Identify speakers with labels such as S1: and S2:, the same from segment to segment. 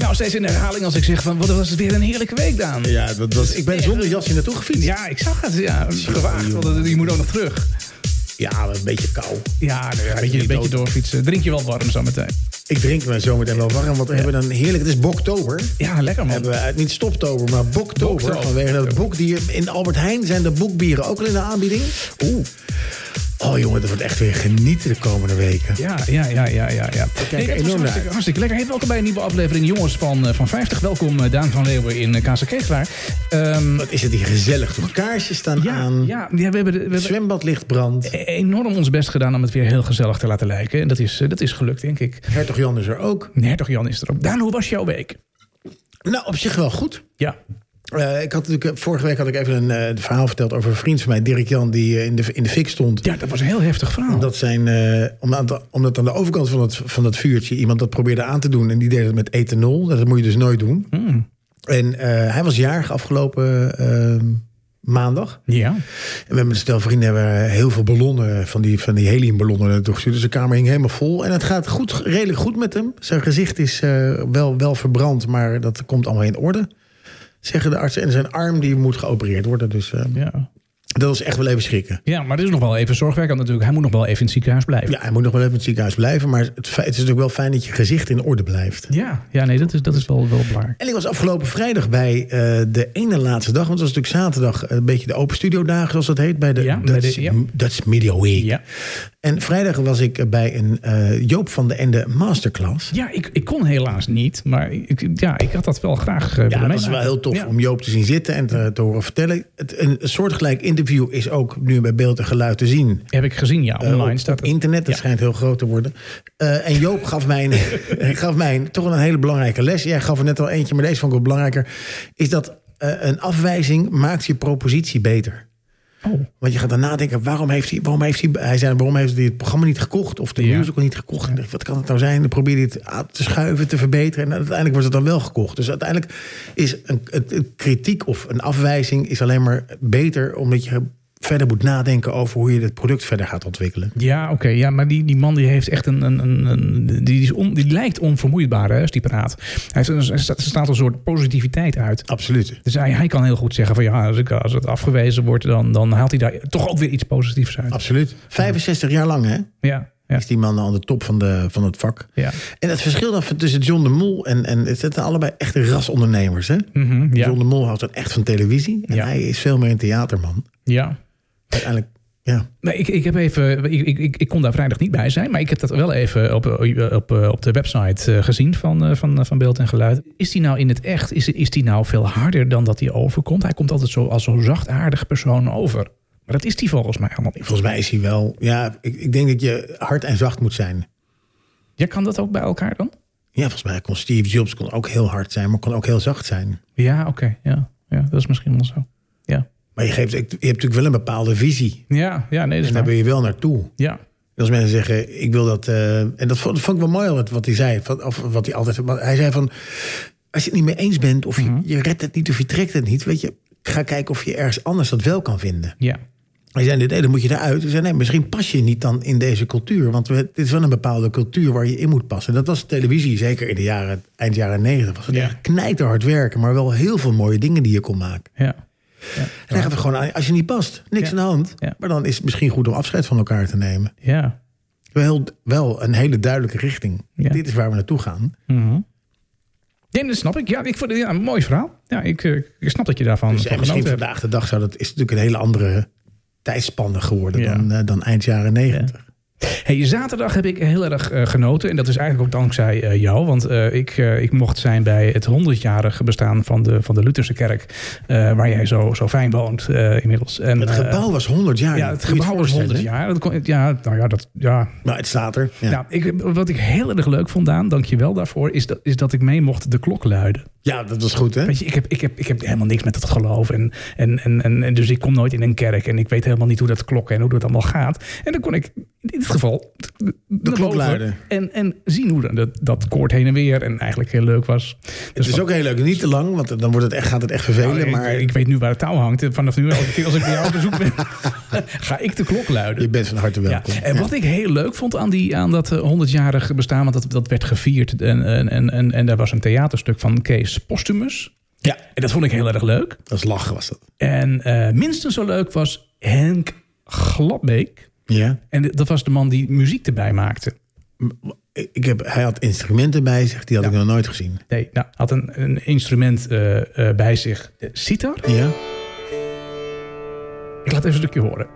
S1: nou steeds in herhaling als ik zeg van wat was het weer een heerlijke week, Daan.
S2: Ja, dat, dat, ik ben zonder jasje naartoe gefietst.
S1: Ja, ik zag het. Ja, gewaagd. Want je moet ook nog terug.
S2: Ja, maar een beetje kou.
S1: Ja, nou ja, een, beetje, een
S2: niet
S1: beetje
S2: dood.
S1: doorfietsen. Drink je wel warm zometeen.
S2: Ik drink me zometeen wel warm, want we hebben een heerlijk... Het is boktober.
S1: Ja, lekker man.
S2: Hebben we, uit- niet stoptober, maar boktober.
S1: Boktober.
S2: Vanwege dat bokdier. In Albert Heijn zijn de bokbieren ook al in de aanbieding. Oeh. Oh jongen, dat wordt echt weer genieten de komende weken.
S1: Ja, ja, ja, ja, ja. ja. Nee, dat
S2: enorm
S1: was
S2: naar
S1: hartstikke,
S2: uit.
S1: hartstikke lekker. Hey, welkom bij een nieuwe aflevering Jongens van, eh, van 50. Welkom eh, Daan van Leeuwen in eh, Kaas en Keeselaar. Ehm,
S2: Wat is het hier gezellig, toch? Kaarsjes staan
S1: ja,
S2: aan.
S1: ja, ja, we hebben, de- we
S2: Het
S1: hebben e-
S2: zwembadlicht brandt.
S1: enorm ons best gedaan om het weer heel gezellig te laten lijken. En dat is, eh, dat is gelukt, denk ik.
S2: Hertog Jan is er ook.
S1: Hertog Jan is er ook. Daan, hoe was jouw week?
S2: Nou, op zich wel goed.
S1: Ja.
S2: Eh, ik had natuurlijk, eh, vorige week had ik even een eh, verhaal verteld over een vriend van mij, Dirk Jan, die eh, in, de, in de fik stond.
S1: ja, dat was een heel heftig verhaal.
S2: Dat zijn, eh, omdat, omdat aan de overkant van het, van dat vuurtje iemand dat probeerde aan te doen. En die deed het met ethanol. Dat moet je dus nooit doen. En eh, hij was jarig afgelopen eh, maandag.
S1: Ja.
S2: En we hebben een stel vrienden hebben heel veel ballonnen van die, van die heliumballonnen naartoe gestuurd. Dus de kamer hing helemaal vol. En het gaat goed, redelijk goed met hem. Zijn gezicht is eh, wel, wel verbrand, maar dat komt allemaal in orde. Zeggen de artsen. En zijn arm die moet geopereerd worden. Dus eh,
S1: ja.
S2: dat was echt wel even schrikken.
S1: Ja, maar er is nog wel even zorgwerk aan natuurlijk. Hij moet nog wel even in het ziekenhuis blijven.
S2: Ja, hij moet nog wel even in het ziekenhuis blijven. Maar het, feit, het is natuurlijk wel fijn dat je gezicht in orde blijft.
S1: ja, ja nee, dat is, dat is wel, wel belangrijk.
S2: En ik was afgelopen vrijdag bij eh, de ene laatste dag. Want het was natuurlijk zaterdag eh, een beetje de open studiodagen, zoals dat heet. Bij de,
S1: Ja, bij
S2: Dutch,
S1: de- ja.
S2: Dutch Media Week.
S1: Ja.
S2: En vrijdag was ik bij een eh, Joop van de Ende masterclass.
S1: Ja, ik, ik kon helaas niet, maar ik, ja, ik had dat wel graag eh,
S2: Ja,
S1: willen
S2: dat is
S1: meemaken.
S2: wel heel tof
S1: Ja.
S2: om Joop te zien zitten en te, te horen vertellen. Het, een soortgelijk interview is ook nu bij beeld en geluid te zien.
S1: Heb ik gezien, ja,
S2: Eh,
S1: online
S2: op,
S1: staat
S2: op
S1: het.
S2: internet, dat
S1: Ja.
S2: schijnt heel groot te worden. Eh, en Joop gaf mij, een, eh, gaf mij een- toch een hele belangrijke les. Jij gaf er net al eentje, maar deze vond ik wel belangrijker. Is dat eh, een afwijzing maakt je propositie beter.
S1: Oh,
S2: Want je gaat daarna denken, waarom heeft hij, waarom heeft hij, hij zei, waarom heeft hij het programma niet gekocht of de
S1: Ja.
S2: musical niet gekocht? En ik dacht, wat kan het nou zijn? Dan probeer je het aan te schuiven, te verbeteren. En uiteindelijk wordt het dan wel gekocht. Dus uiteindelijk is een, het- het kritiek of een afwijzing is alleen maar beter omdat je verder moet nadenken over hoe je het product verder gaat ontwikkelen.
S1: ja, oké. ja, maar die, die man die heeft echt een... een, een, een- die, die, is on- die lijkt onvermoeibaar, hè, als die praat. Hij heeft een- er staat- er staat een soort positiviteit uit.
S2: Absoluut.
S1: Dus hij, hij kan heel goed zeggen van ja, als, ik, als het afgewezen wordt, dan, dan haalt hij daar toch ook weer iets positiefs uit.
S2: Absoluut. 65 jaar lang hè,
S1: Ja, ja,
S2: is die man aan de top van, de, van het vak.
S1: ja.
S2: En het verschil dan tussen John de Mol en, en het zijn allebei echte rasondernemers. Hè?
S1: Mhm, ja,
S2: John de Mol houdt dan echt van televisie en
S1: Ja.
S2: hij is veel meer een theaterman.
S1: ja.
S2: uiteindelijk, ja.
S1: Nee, ik, ik, heb even, ik, ik, ik, ik kon daar vrijdag niet bij zijn, maar ik heb dat wel even op, eh, op, eh, op de website eh, gezien van, eh, van, eh, van Beeld en Geluid. Is die nou in het echt, is, is die nou veel harder dan dat hij overkomt? Hij komt altijd zo als zo'n zachtaardig persoon over. Maar dat is die volgens mij helemaal niet.
S2: Volgens mij is hij wel. Ja, ik, ik denk dat je hard en zacht moet zijn.
S1: Jij kan dat ook bij elkaar dan?
S2: Ja, volgens mij kon Steve Jobs kon ook heel hard zijn, maar kon ook heel zacht zijn.
S1: Ja, oké. ja. ja, dat is misschien wel zo. Ja,
S2: Maar je, geeft, je hebt natuurlijk wel een bepaalde visie.
S1: ja, ja nee, dat
S2: En
S1: is
S2: daar
S1: waar.
S2: wil je wel naartoe.
S1: Ja,
S2: En als mensen zeggen, ik wil dat. eh, en dat vond, dat vond ik wel mooi wat, wat hij zei. Van, of wat hij altijd. wat hij zei van. Als je het niet mee eens bent, of je,
S1: Mhm.
S2: je redt het niet, of je trekt het niet, weet je, ga kijken of je ergens anders dat wel kan vinden.
S1: ja.
S2: Hij zei, nee, dan moet je eruit. Hij zei, nee, misschien pas je niet dan in deze cultuur. Want we, dit is wel een bepaalde cultuur waar je in moet passen. Dat was televisie, zeker in de jaren, eind jaren negentig. Was het
S1: Ja.
S2: echt knijterhard werken, maar wel heel veel mooie dingen die je kon maken.
S1: ja.
S2: En hij gaf het gewoon aan, als je niet past, niks
S1: Ja.
S2: aan de hand.
S1: Ja.
S2: Maar dan is het misschien goed om afscheid van elkaar te nemen.
S1: Ja.
S2: Wel, wel een hele duidelijke richting.
S1: Ja.
S2: Dit is waar we naartoe gaan.
S1: Nee, dat snap ik. Mhm. Ja, ik vond het ja, een mooi verhaal. Ja, ik, eh, ik snap dat je daarvan
S2: Dus
S1: van
S2: en misschien
S1: genoten hebt.
S2: vandaag de dag zou dat, is natuurlijk een hele andere tijdspanne geworden
S1: Ja.
S2: dan, eh, dan eind jaren negentig.
S1: Hey, zaterdag heb ik heel erg eh, genoten. En dat is eigenlijk ook dankzij eh, jou. Want eh, ik, eh, ik mocht zijn bij het 100-jarige bestaan van de, van de Lutherse kerk. eh, waar jij zo, zo fijn woont eh, inmiddels. En,
S2: Het
S1: eh,
S2: gebouw was 100 jaar.
S1: ja, het
S2: Moet je
S1: gebouw is
S2: voorstellen,
S1: 100
S2: hè?
S1: jaar. Dat kon, ja, nou ja, dat, ja,
S2: Nou, het staat er. Ja.
S1: Nou, ik, wat ik heel erg leuk vond, Daan, dank je wel daarvoor, is dat, is dat ik mee mocht de klok luiden.
S2: Ja, dat was goed, hè?
S1: Weet je, ik heb, ik heb, ik heb helemaal niks met dat geloof. En, en, en, en, en dus ik kom nooit in een kerk. En ik weet helemaal niet hoe dat klokken en hoe dat allemaal gaat. En dan kon ik in dit geval de,
S2: klok luiden.
S1: En, en zien hoe dat, dat koord heen en weer. En eigenlijk heel leuk was.
S2: Het is ook heel leuk. Niet te lang, want dan wordt het echt, gaat het echt vervelen.
S1: Nou, ik-
S2: maar
S1: ik, weet nu waar het touw hangt. En Vanaf nu, elke keer als ik bij jou op bezoek ben, ga ik de klok luiden.
S2: je bent van harte
S1: Ja.
S2: welkom.
S1: En wat ik heel leuk vond aan, die, aan dat eh, 100-jarig bestaan, want dat, dat werd gevierd. En, en, en, en, en daar was een theaterstuk van Kees Postumus.
S2: Ja.
S1: En dat vond ik heel erg leuk.
S2: Dat is lachen, was dat.
S1: En eh, minstens zo leuk was Henk Gladbeek.
S2: Ja.
S1: En dat was de man die muziek erbij maakte.
S2: Ik heb, hij had instrumenten bij zich, die had ik nog nooit gezien.
S1: Nee, nou, had een, een instrument eh, eh, bij zich. De sitar.
S2: Ja?
S1: Ik laat even een stukje horen.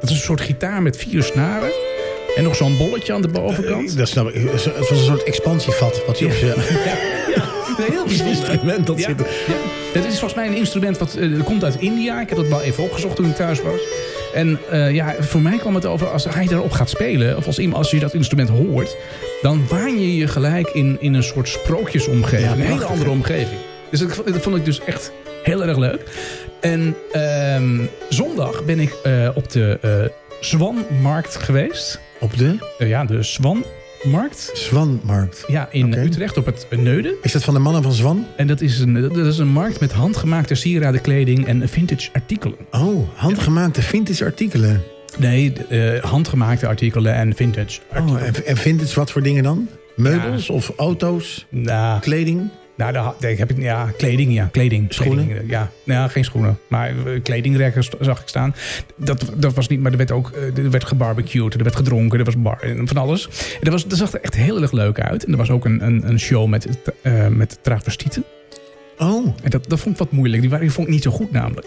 S1: Dat is een soort gitaar met vier snaren. En nog zo'n bolletje aan de bovenkant.
S2: Dat snap ik. Het was een soort expansievat. Wat hij op zijn
S1: Een heel
S2: instrument dat
S1: Ja,
S2: zit.
S1: ja. Het is volgens mij een instrument wat eh, komt uit India. Ik heb dat wel even opgezocht toen ik thuis was. En eh, ja, voor mij kwam het over als hij daarop gaat spelen, of als, iemand- als je dat instrument hoort, dan waan je je gelijk in, in een soort sprookjesomgeving.
S2: Ja,
S1: een hele
S2: prachtig,
S1: andere
S2: hè?
S1: omgeving. Dus dat, dat vond ik dus echt heel erg leuk. En ehm, zondag ben ik eh, op de eh, Zwanmarkt geweest.
S2: Op de
S1: Eh, ja, de Zwanmarkt.
S2: Zwanmarkt.
S1: Ja, in
S2: Oké.
S1: Utrecht op het Neuden.
S2: Is dat van de mannen van Zwan?
S1: En dat is een, dat is een markt met handgemaakte sieraden, kleding en vintage artikelen.
S2: Oh, handgemaakte vintage artikelen.
S1: Nee, d- eh, handgemaakte artikelen en vintage. art-
S2: Oh, en, en vintage wat voor dingen dan? Meubels of auto's?
S1: Nou,
S2: Kleding?
S1: nou daar, ha- daar heb ik, ja, kleding, ja, kleding.
S2: Schoenen?
S1: Kleding, ja, nou, geen schoenen, maar eh, kledingrekken st- zag ik staan. Dat, dat was niet, maar er werd ook eh, er werd gebarbecued, er werd gedronken, er was bar, en van alles. En dat, was, dat zag er echt heel erg leuk uit. En er was ook een, een, een show met, eh, met travestieten.
S2: Oh,
S1: En dat, dat vond ik wat moeilijk, die, waren, die vond ik niet zo goed namelijk.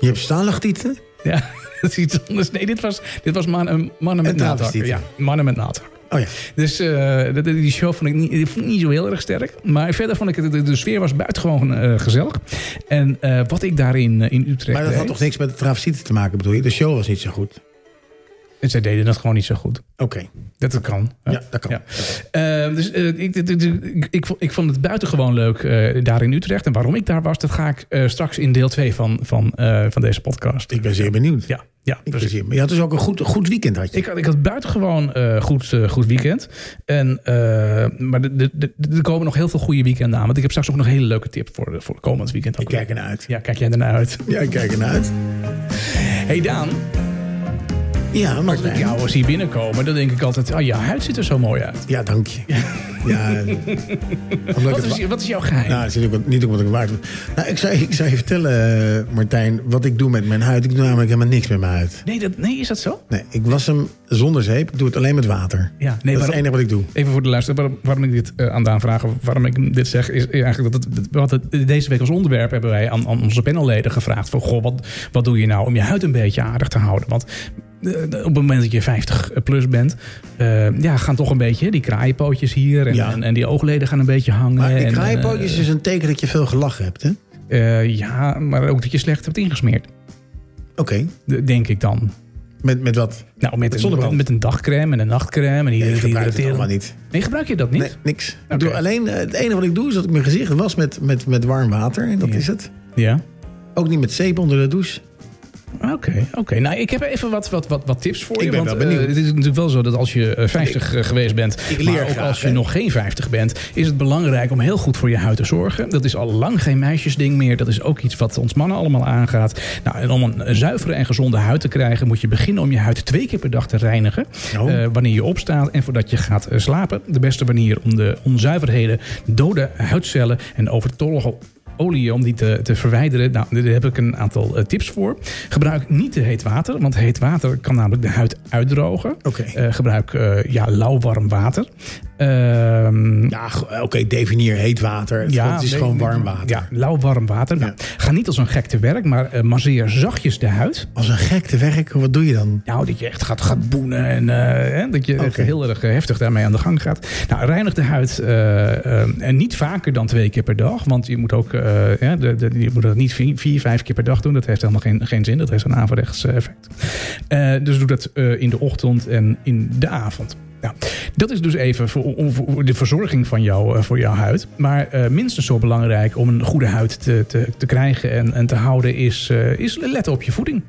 S2: je hebt staalachtieten?
S1: Ja, dat is iets anders. Nee, dit was, dit was mannen, mannen met
S2: Een
S1: naaldhak.
S2: travestiet.
S1: Ja, mannen met naaldhak.
S2: Oh ja.
S1: Dus eh, dat- die show vond ik, niet, die vond ik niet zo heel erg sterk. Maar verder vond ik het, de, de sfeer was buitengewoon eh, gezellig. En eh, wat ik daarin eh, in Utrecht
S2: Maar dat had
S1: deed,
S2: toch niks met de travestieten te maken, bedoel je? De show was niet zo goed.
S1: en zij deden dat gewoon niet zo goed.
S2: Oké,
S1: Dat het kan. hè.
S2: ja, dat kan.
S1: Ja. Eh, dus eh, ik, ik, ik, ik, vond- ik vond het buitengewoon leuk eh, daar in Utrecht. En waarom ik daar was, dat ga ik eh, straks in deel 2 van, van, eh, van deze podcast.
S2: Ik ben zeer benieuwd.
S1: Ja, ja
S2: Ik ben zeer, maar je had dus ook een goed, goed weekend, had je?
S1: Ik had, ik had buitengewoon eh goed, eh, goed weekend. En, eh, maar de- de- de- de- er komen nog heel veel goede weekenden aan. Want ik heb straks ook nog een hele leuke tip voor, de- voor komend weekend. Ook
S2: Ik kijk ernaar uit.
S1: Ja, kijk jij ernaar uit.
S2: Ja, ik kijk ernaar uit.
S1: hey Daan,
S2: Ja, maar
S1: als ik jou eens hier binnenkomen, dan denk ik altijd... Ah, je huid ziet er zo mooi uit.
S2: Ja, dank je. Ja, omdat
S1: Wat
S2: het
S1: is, wat is jouw geheim?
S2: Nou, dat is natuurlijk niet ook wat ik waard ben. Nou, ik zou, ik zou je vertellen, eh, Martijn, wat ik doe met mijn huid. Ik doe namelijk helemaal niks met mijn huid.
S1: nee, dat, nee, is dat zo?
S2: Nee, ik was hem zonder zeep. Ik doe het alleen met water.
S1: Ja, nee,
S2: dat is het
S1: waarom-
S2: enige wat ik doe.
S1: Even voor de luisteraar, waarom, waarom ik dit eh, aan Daan vraag, of waarom ik hem dit zeg, is eigenlijk dat het, wat het- deze week als onderwerp hebben wij aan, aan onze panelleden gevraagd: van goh, wat, wat doe je nou om je huid een beetje aardig te houden? Want eh, op het moment dat je 50 plus bent, eh, ja, gaan toch een beetje hè, die kraaienpootjes hier en,
S2: Ja.
S1: en, en die oogleden gaan een beetje hangen.
S2: Maar die
S1: en,
S2: kraaienpootjes is een teken dat je veel gelachen hebt, hè? Oké.
S1: eh, eh, ja, maar ook dat je slecht hebt ingesmeerd, de- denk ik dan.
S2: Met, met wat?
S1: Nou, met, een,
S2: zonnebrand.
S1: met een dagcrème en een nachtcrème en hier
S2: Ik gebruik het
S1: hydrateren.
S2: allemaal niet.
S1: Nee, gebruik je dat niet?
S2: Nee, niks. Ik doe
S1: Oké.
S2: alleen, eh, het enige wat ik doe is dat ik mijn gezicht was met, met, met warm water. En dat
S1: Ja.
S2: is het.
S1: Ja.
S2: Ook niet met zeep onder de douche.
S1: Oké, oké. Nou, ik heb even wat, wat, wat, wat tips voor
S2: Ik
S1: je.
S2: ben
S1: want,
S2: wel benieuwd.
S1: eh, het is natuurlijk wel zo dat als je eh, 50 eh, geweest bent,
S2: ik leer
S1: maar ook
S2: graag,
S1: als je
S2: hè.
S1: nog geen 50 bent, is het belangrijk om heel goed voor je huid te zorgen. Dat is al lang geen meisjesding meer. Dat is ook iets wat ons mannen allemaal aangaat. Nou, en om een eh, zuivere en gezonde huid te krijgen, moet je beginnen om je huid twee keer per dag te reinigen.
S2: Oh.
S1: Eh, wanneer je opstaat en voordat je gaat eh, slapen. De beste manier om de onzuiverheden, dode huidcellen en overtollige olie om die te, te verwijderen. Nou, daar heb ik een aantal eh, tips voor. Gebruik niet te heet water, want heet water kan namelijk de huid uitdrogen.
S2: Oké.
S1: Eh, gebruik eh, ja, lauwwarm water. Ehm
S2: Ja, go- oké, definieer heet water. Het het is
S1: nee,
S2: gewoon
S1: nee,
S2: warm water.
S1: Ja, lauw warm water. Nou, Ga niet als een gek te werk, maar eh masseer zachtjes de huid.
S2: Als een gek te werk, wat doe je dan?
S1: Nou, dat je echt gaat, gaat boenen en eh, hè, dat je echt
S2: Oké.
S1: heel erg eh, heftig daarmee aan de gang gaat. Nou, reinig de huid eh, eh, en niet vaker dan twee keer per dag. Want je moet ook eh, ja, de, de, je moet dat niet vier, vier, vijf keer per dag doen. Dat heeft helemaal geen, geen zin. Dat heeft een averechts eh, effect. Eh, dus doe dat eh, in de ochtend en in de avond. Nou, dat is dus even voor, om- voor de verzorging van jou, eh, voor jouw huid. Maar eh, minstens zo belangrijk om een goede huid te, te, te krijgen en, en te houden is, eh, is letten op je voeding.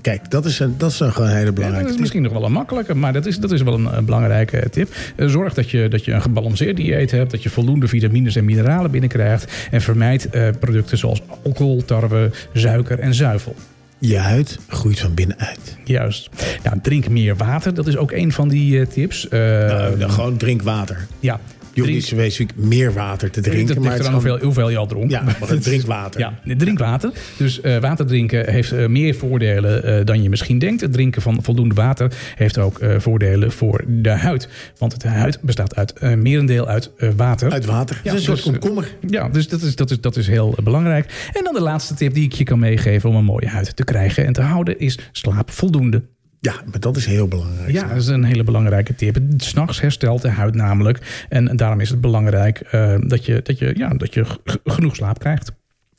S2: Kijk, dat is, een, dat is een gewoon hele
S1: Ja,
S2: belangrijke
S1: dat is
S2: tip.
S1: misschien nog wel een makkelijke, maar dat is, dat is wel een, eh, belangrijke eh, tip. Eh, Zorg dat je, dat je een gebalanceerd dieet hebt, dat je voldoende vitamines en mineralen binnenkrijgt. En vermijd eh, producten zoals alcohol, tarwe, suiker en zuivel.
S2: Je huid groeit van binnenuit.
S1: Juist. Nou, drink meer water, dat is ook een van die eh, tips. Eh,
S2: Eh, dan gewoon drink water.
S1: ja,
S2: Je hoeft
S1: drink-
S2: niet specifiek meer water te
S1: dat
S2: drinken.
S1: ligt
S2: Maar het
S1: eraan
S2: is
S1: hoeveel,
S2: gewoon-
S1: hoeveel je al dronk.
S2: Ja, maar drink water.
S1: Ja, drink water. Dus eh, water drinken heeft eh, meer voordelen eh, dan je misschien denkt. Het drinken van voldoende water heeft ook eh, voordelen voor de huid. Want de huid bestaat uit eh, merendeel uit eh, water.
S2: Uit water.
S1: Ja,
S2: het is een
S1: dus,
S2: soort komkommer.
S1: Ja, dus dat is, dat, is, dat is heel eh, belangrijk. En dan de laatste tip die ik je kan meegeven om een mooie huid te krijgen en te houden is slaap voldoende.
S2: Ja, maar dat is heel belangrijk.
S1: Ja, dat is een hele belangrijke tip. S'nachts herstelt de huid namelijk. En daarom is het belangrijk eh, dat, je, dat, je, ja, dat je g- g- genoeg slaap krijgt.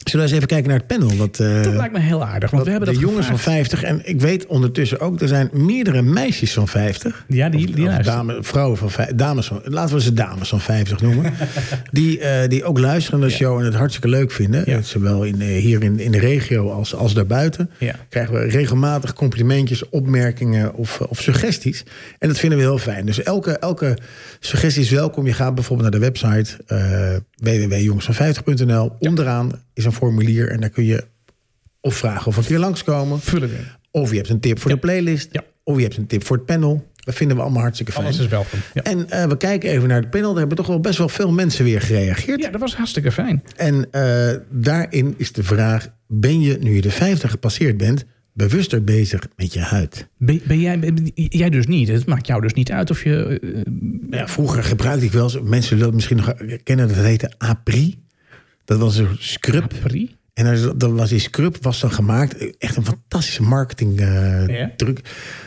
S2: Zullen we eens even kijken naar het panel? Wat, eh,
S1: Dat lijkt me heel aardig, want we hebben
S2: de
S1: dat
S2: jongens van
S1: gevraagd.
S2: 50. En ik weet ondertussen ook, er zijn meerdere meisjes van 50.
S1: Ja, die, die
S2: Of
S1: luisteren.
S2: dame, vrouwen van vijf- dames van, laten we ze dames van 50 noemen. die, eh, die ook luisteren naar de show en het hartstikke leuk vinden.
S1: Ja.
S2: Zowel in, eh, hier in, in de regio als, als daarbuiten.
S1: Ja.
S2: Krijgen we regelmatig complimentjes, opmerkingen of, eh, of suggesties. En dat vinden we heel fijn. Dus elke, elke suggestie is welkom. Je gaat bijvoorbeeld naar de website eh www.jongensvan50.nl. Onderaan is een formulier en daar kun je of vragen of een keer langskomen.
S1: Vullen we.
S2: Of je hebt een tip voor de playlist.
S1: Ja.
S2: Of je hebt een tip voor het panel. Dat vinden we allemaal hartstikke fijn.
S1: Alles is welkom. Ja.
S2: En eh, we kijken even naar het panel. Daar hebben toch wel best wel veel mensen weer gereageerd.
S1: ja, dat was hartstikke fijn.
S2: En eh, daarin is de vraag: ben je, nu je de 50 gepasseerd bent, bewuster bezig met je huid?
S1: Ben, ben jij, ben- jij dus niet? Het maakt jou dus niet uit of je... eh,
S2: Ja, vroeger gebruikte ik wel eens, mensen zullen het misschien nog kennen, dat heette Apri. Dat was een scrub.
S1: Paris?
S2: En er, dan was die scrub was dan gemaakt. Echt een fantastische marketing eh,
S1: Ja.
S2: truc.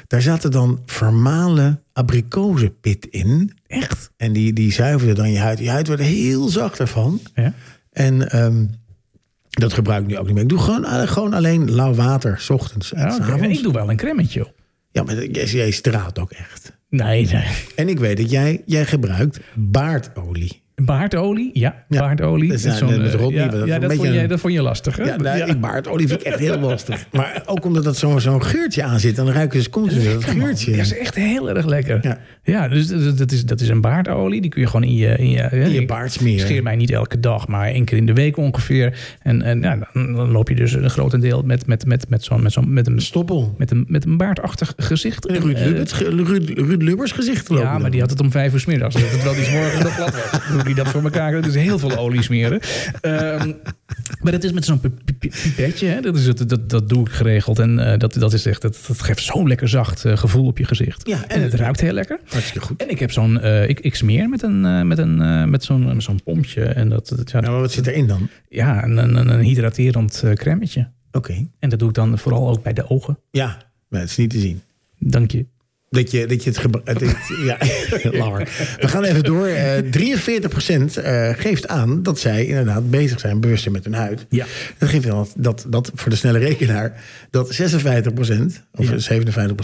S2: Daar zaten dan vermalen abrikozenpit in.
S1: Echt?
S2: En die, die zuiverde dan je huid. Je huid werd heel zacht ervan.
S1: Ja.
S2: En ehm, dat gebruik ik nu ook niet meer. Ik doe gewoon, eh, gewoon alleen lauw water, s ochtends en
S1: Ja,
S2: s
S1: Oh, oké.
S2: avonds.
S1: Ik doe wel een cremmetje op.
S2: Ja, maar jij, jij straalt ook echt.
S1: Nee, nee.
S2: En ik weet dat jij, jij gebruikt baardolie.
S1: Baardolie? Ja,
S2: Ja.
S1: baardolie.
S2: Dat is nou
S1: zo'n,
S2: net met
S1: eh,
S2: Rodney,
S1: ja,
S2: maar dat is
S1: ja,
S2: een
S1: dat,
S2: beetje
S1: vond jij,
S2: een-
S1: dat vond je lastig, hè?
S2: Ja, nou, ik baardolie vind ik echt heel lastig. Maar ook omdat dat zo'n zo'n geurtje aan zit. En dan ruik je dus continu dat
S1: Lekker, man.
S2: geurtje.
S1: Ja, is echt heel erg lekker.
S2: Ja.
S1: Ja, dus dat dat is, dat is een baardolie. Die kun je gewoon in je, in je,
S2: In je
S1: ik
S2: baard smeren.
S1: Scheer mij niet elke dag, maar één keer in de week ongeveer. En, en ja, dan, dan loop je dus een grotendeel met, met, met, met, zo'n, met, zo'n, met, een,
S2: Stoppel.
S1: met, een, met een baardachtig gezicht.
S2: En Ruud,
S1: Eh,
S2: Lubbers, ge- Ruud, Ruud Lubbers gezicht lopen.
S1: ja, maar
S2: dan.
S1: die had het om vijf uur smiddags. Dat het wel die 's morgens nog glad was. Hoe die dat voor elkaar Dat is heel veel olie smeren. Ehm, maar dat is met zo'n pi- pi- pi- pipetje. Hè? Dat, is het, dat, dat doe ik geregeld. En eh, dat, dat, is echt, dat, dat geeft zo'n lekker zacht eh, gevoel op je gezicht.
S2: Ja, en-
S1: en, het ruikt heel lekker.
S2: Hartstikke goed.
S1: En ik heb zo'n... eh, ik, ik smeer met, een, eh, met, een, eh, met zo'n met zo'n pompje. En dat, dat- ja,
S2: Nou, maar wat zit erin dan?
S1: ja een, een, een hydraterend eh crèmetje.
S2: Oké.
S1: En dat doe ik dan vooral ook bij de ogen.
S2: Ja, maar het is niet te zien.
S1: Dank je.
S2: Dat je, dat je het gebruikt. Ja, lauwer. We gaan even door. Eh 43% eh, geeft aan dat zij inderdaad bezig zijn, bewuster met hun huid.
S1: Ja.
S2: Dat geeft dan dat, dat, dat voor de snelle rekenaar, dat 56% of